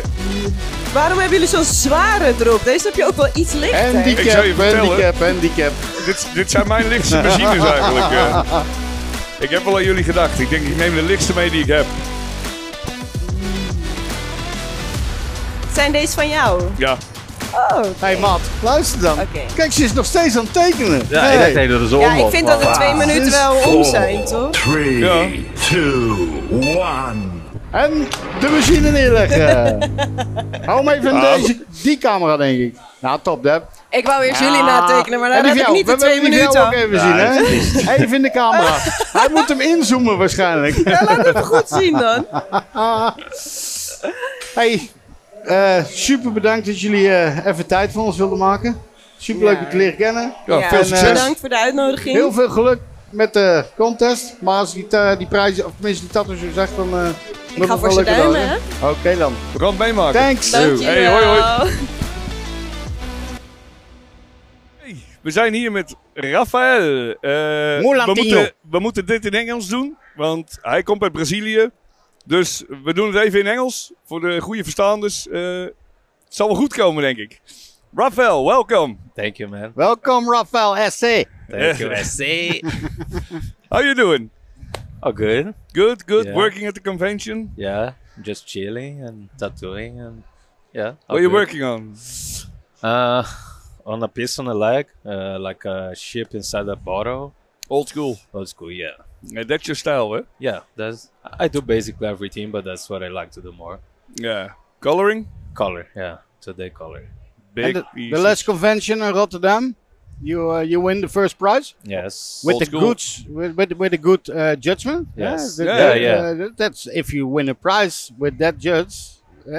S: Waarom hebben jullie zo'n zware drop? Deze heb je ook wel iets lichter.
C: ik zou je vertellen,
A: handicap.
C: Dit, dit zijn mijn lichtste machines eigenlijk. eh. ik heb wel aan jullie gedacht. Ik denk, ik neem de lichtste mee die ik heb.
S: Zijn deze van jou?
C: Ja.
S: Oh.
A: Hé, Maat, luister dan. Kijk, ze is nog steeds aan het tekenen.
D: Ja,
A: Hey.
D: ik dacht dat het er zo om
S: Ja, ik
D: was,
S: vind
D: maar-
S: dat de twee minuten wel om zijn, toch?
U: 3,
C: Ja.
U: 2, 1.
A: En de machine neerleggen. Hou hem even in deze, die camera, denk ik. Nou, top, Deb.
S: Ik wou eerst jullie natekenen, maar daar
A: En die
S: heb ik
A: van jou.
S: niet de
A: We
S: twee
A: willen die van
S: minuten.
A: jou ook even zien, hè? Even in de camera. Hij moet hem inzoomen waarschijnlijk.
S: Ja, Nou, laat het goed zien dan.
A: Hey, eh, super bedankt dat jullie eh, even tijd voor ons wilden maken. Super leuk je te leren kennen.
S: Ja,
A: En, eh,
S: Bedankt voor de uitnodiging.
A: Heel veel geluk met de contest. Maar als die, ta- die prijzen, of tenminste die tattoo zo zegt, dan... eh, wordt
S: ga
A: het
S: voor
A: wel
S: ze
A: leuker dan,
S: duimen,
A: Oké dan.
C: We gaan het meemaken.
A: Thanks.
S: Dankjewel.
C: Hey, hoi, hoi. We zijn hier met Rafael. Eh, we,
H: Moulantino.
C: moeten, we moeten dit in Engels doen, want hij komt uit Brazilië. Dus we doen het even in Engels voor de goede verstaanders. Eh, het zal wel goed komen, denk ik. Rafael, welcome.
T: Thank you, man.
A: Welcome, Rafael S.C.
T: Thank you, SC.
C: How you doing?
T: Oh, good.
C: Good, good.
T: Yeah.
C: Working at the convention.
T: Yeah, just chilling and tattooing and yeah.
C: What
T: all
C: are you
T: good.
C: working on?
T: Uh, on a piece on a leg, uh, like a ship inside a bottle.
C: Old school.
T: Old school, yeah.
C: that's your style, eh?
T: Yeah, that's. I do basically everything, but that's what I like to do more.
C: Yeah. Coloring?
T: Color, yeah. Today color.
A: And the, the last convention in Rotterdam, you uh, you win the first prize.
T: Yes.
A: With
T: Old
A: the
T: school.
A: goods, with, with, with a good uh, judgment.
T: Yes.
A: that-
T: Yeah,
A: that,
T: yeah.
A: uh, that- that's if you win a prize with that judge, uh,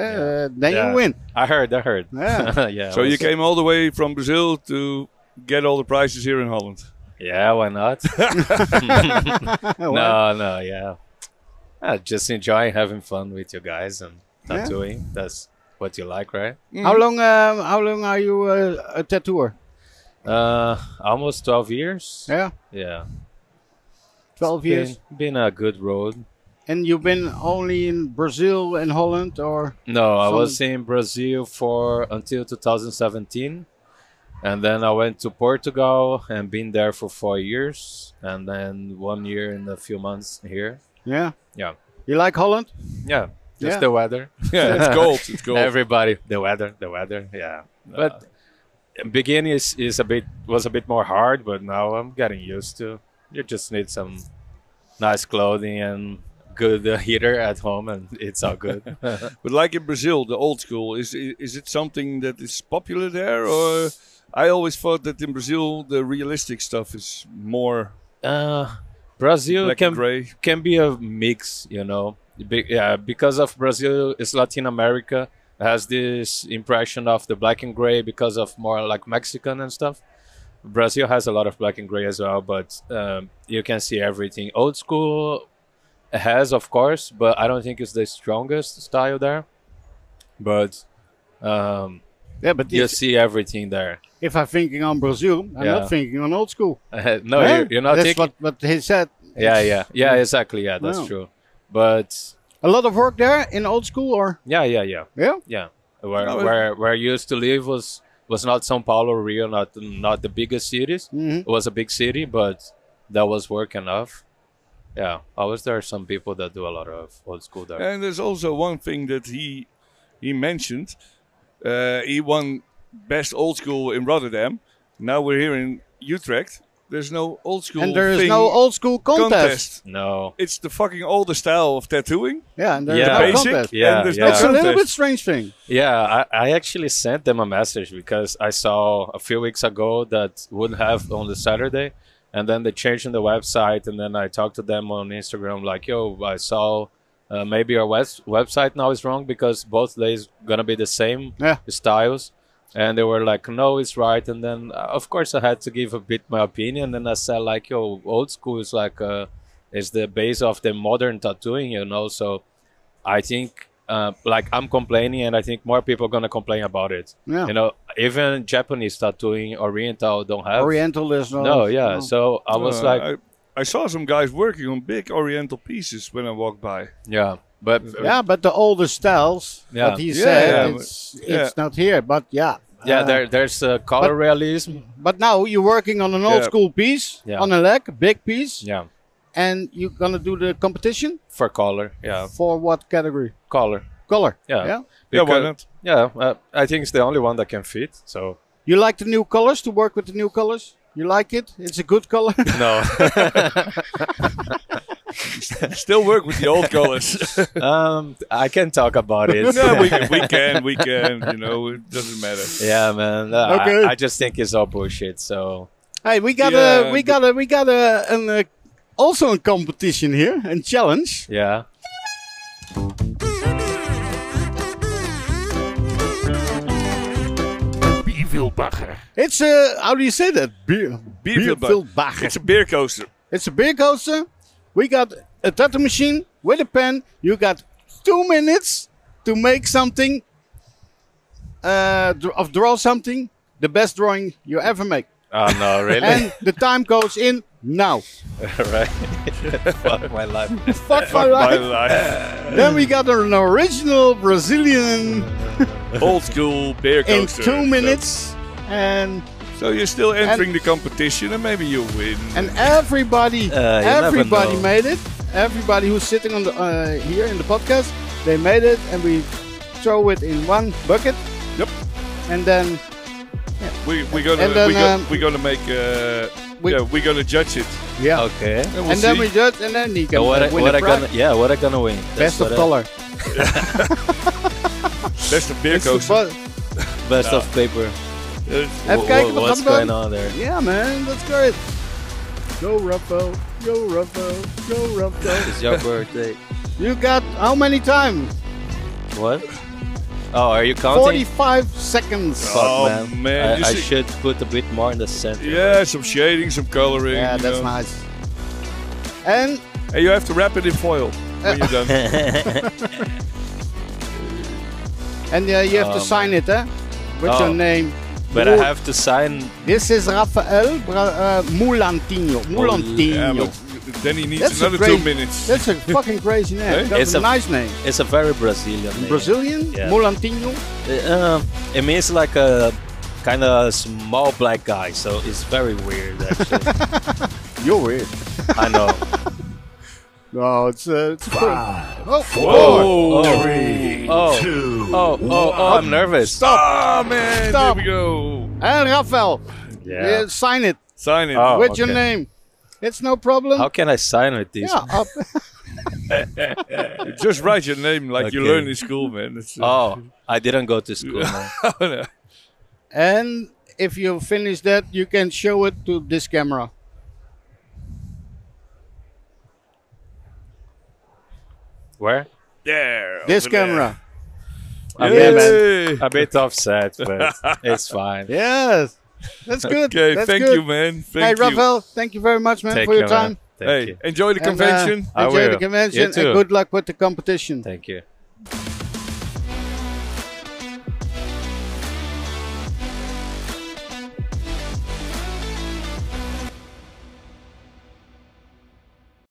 A: then
T: Yeah.
A: you win.
T: I heard, I heard.
A: Yeah.
T: yeah.
C: so
T: I
C: you
T: was-
C: came all the way from Brazil to get all the prizes here in Holland.
T: Yeah, why not?
A: Oh,
T: no, no, yeah. Uh, just enjoying having fun with you guys and
A: Yeah.
T: tattooing. That's what you like, right?
A: How long? Uh, how long are you uh, a tattooer?
T: Uh, almost 12 years.
A: Yeah.
T: Yeah.
A: 12 years.
T: Been, been a good road.
A: And you've been only in Brazil and Holland, or
T: No, I
A: Some-
T: was in Brazil for until 2017. And then I went to Portugal and been there for four years. And then one year and a few months here.
A: yeah,
T: Yeah.
A: you like Holland?
T: Yeah, just
A: Yeah.
T: the weather.
A: Yeah, it's cold, it's cold.
T: Everybody, the weather, the weather. Yeah, but beginning is, is a bit was a bit more hard, but now I'm getting used to. You just need some nice clothing and good uh, heater at home, and it's all good.
C: but like in Brazil, the old school is i- is it something that is popular there, or I always thought that in Brazil the realistic stuff is more.
T: Uh, Brazil
C: Black
T: can
C: and gray.
T: can be a mix, you know. Be- yeah, because of Brazil is Latin America has this impression of the black and gray because of more like Mexican and stuff. Brazil has a lot of black and gray as well, but um, you can see everything. Old school has, of course, but I don't think it's the strongest style there. But um,
A: yeah, but
T: you
A: it's-
T: see everything there.
A: If I'm thinking on Brazil, I'm
T: Yeah.
A: not thinking on old school.
T: no,
A: Huh?
T: you're, you're not
A: That's
T: thinking.
A: what Mm. what he said.
T: Yeah, yeah, yeah, exactly. Yeah, that's
A: Wow.
T: true. But
A: A lot of work there in old school, or
T: yeah, yeah, yeah,
A: Yeah?
T: yeah. Where
A: Oh, it-
T: where where I used to live was was not São Paulo, Rio, not not the biggest cities.
A: Mhm.
T: It was a big city, but that was work enough. Yeah, always there are some people that do a lot of old school there.
C: And there's also one thing that he he mentioned. Uh, he won best old school in Rotterdam. Now we're here in Utrecht. There's no old school.
A: And there is
C: thing-
A: no old school contest.
T: No.
C: It's the fucking older style of tattooing.
A: Yeah, and there's
T: Yeah.
A: no
T: Basic,
A: contest.
T: yeah,
A: and
T: yeah.
A: That's a little
T: contest.
A: bit strange thing.
T: Yeah, I, I actually sent them a message because I saw a few weeks ago that would have on the Saturday, and then they changed on the website, and then I talked to them on Instagram like, "Yo, I saw uh, maybe our webs website now is wrong because both days gonna be the same
A: Yeah.
T: styles," and they were like, "No, it's right." And then uh, of course I had to give a bit my opinion, and I said like, "Yo, old school is like uh, is the base of the modern tattooing, you know." So. I think uh, like I'm complaining, and I think more people are gonna complain about it.
A: Yeah.
T: You know, even Japanese tattooing, Oriental don't have.
A: Oriental Oh. is not.
T: No, yeah. So I was
C: Uh,
T: like,
C: I, I saw some guys working on big Oriental pieces when I walked by.
T: yeah, but
A: yeah, but the older styles,
T: Yeah.
A: what he
C: Yeah,
A: said,
C: yeah,
A: it's,
C: but- yeah.
A: it's not here. But yeah.
T: yeah,
A: uh,
T: there, there's uh, color
A: but-
T: realism.
A: But now you're working on an old
T: Yeah.
A: school piece,
T: Yeah.
A: on a leg, a big piece,
T: Yeah,
A: and you're going to do the competition
T: for color. Yeah,
A: for what category?
T: color.
A: Color.
T: Yeah.
A: yeah?
T: Because- Yeah, uh, I think it's the only one that can fit. So
A: You like the new colors, to work with the new colors? You like it? It's a good color?
T: no.
C: Still work with the old colors.
T: um, I can talk about it.
C: no, we can, we can, we can. You know, it doesn't matter.
T: Yeah, man. Uh, I-
A: Okay.
T: I, just think it's all bullshit. So
A: Hey, we got
T: Yeah,
A: a we
T: but-
A: got a we got a an uh, also a competition here, a challenge.
T: yeah.
C: Biervilbacher.
A: It's a how do you say that? Beer
C: Biervilbacher. It's a beer coaster.
A: It's a beer coaster. We got a tattoo machine with a pen. You got two minutes to make something, uh, dr- of draw something, the best drawing you ever make.
T: Oh no, really?
A: And the time goes in now. Eh?
T: right. Fuck my life.
A: Fuck my life. then we got an original Brazilian
C: Old school beer
A: in
C: coaster.
A: two minutes, and
C: So you're still entering
A: And-
C: the competition, and maybe you win.
A: and everybody,
C: Uh, you never
A: everybody
C: know.
A: made it. Everybody who's sitting on the uh, here in the podcast, they made it, and we throw it in one bucket.
C: Yep.
A: And then
C: we we gonna
A: And then,
C: we, gonna
A: um,
C: we gonna make uh, yeah we gonna judge it.
A: Yeah.
T: Okay.
C: And,
A: and then we judge, and then you can
T: So what
A: uh,
T: I,
A: win
T: what
A: a
T: I gonna,
A: prize.
T: yeah, what I gonna win?
A: Best of color.
T: dollar.
C: Best of beer coaster. Uh,
T: Best
C: Ja.
T: of paper.
A: Even kijken wat
T: what's
A: dat dan-
T: going on there?
A: Yeah, man, that's great. Go Ruffo, go Ruffo, go Ruffo.
T: It's your birthday.
A: You got how many time?
T: What? Oh, are you counting?
A: 45 seconds.
T: Fuck,
C: Oh,
T: man.
C: man,
T: I,
C: you
T: I
C: see-
T: should put a bit more in the center.
C: Yeah, some shading, some coloring.
T: Yeah,
C: you
T: that's
C: know.
A: nice. And
C: and you have to wrap it in foil when
A: Uh,
C: you're done.
A: And uh, you have to
T: Oh,
A: sign it, eh? With
T: Oh.
A: your name.
T: But I
A: Mul-
T: have to sign.
A: This is Rafael Bra- uh,
T: Oh,
A: Mulantino.
C: Yeah,
A: Mulantino.
C: but then he needs
A: That's a
C: another
A: great-
C: two minutes.
A: That's a fucking crazy name. That's a nice name.
T: It's a very Brazilian name.
A: Brazilian?
T: Yeah.
A: Mulantino?
T: Uh, um, it means like a kind of small black guy, so it's very weird. Actually,
A: You're weird.
T: I know.
A: No, it's, uh, it's cool. Oh,
T: Whoa.
A: four.
T: Oh. Oh. Oh, oh, oh, I'm nervous.
C: Stop, Oh, man.
A: Stop.
C: There we go.
A: And Rafael,
T: Yeah.
A: yeah, sign it
C: Sign it.
T: Oh,
A: with
T: okay.
A: your name. It's no problem.
T: How can I sign with this?
A: Yeah, up.
C: Just write your name like you
T: Okay.
C: learn in school, man. It's, uh,
T: Oh, I didn't go to school. man.
A: and if you finish that, you can show it to this camera.
T: Where?
C: There.
A: This
C: over there.
A: camera.
T: A
A: Yeah,
T: bit, a bit offset, but it's fine.
A: Yes. That's good.
C: Okay,
A: That's
C: thank
A: good.
C: you, man. Thank
A: hey,
C: you.
A: Rafael, thank you very much, man,
T: Take
A: for your
T: care, man.
A: time.
T: Thank
C: hey,
T: you.
C: enjoy the
A: And, uh,
C: convention.
T: I
A: enjoy
T: will.
A: the
T: You
A: convention and
T: too.
A: good luck with the competition.
T: Thank you.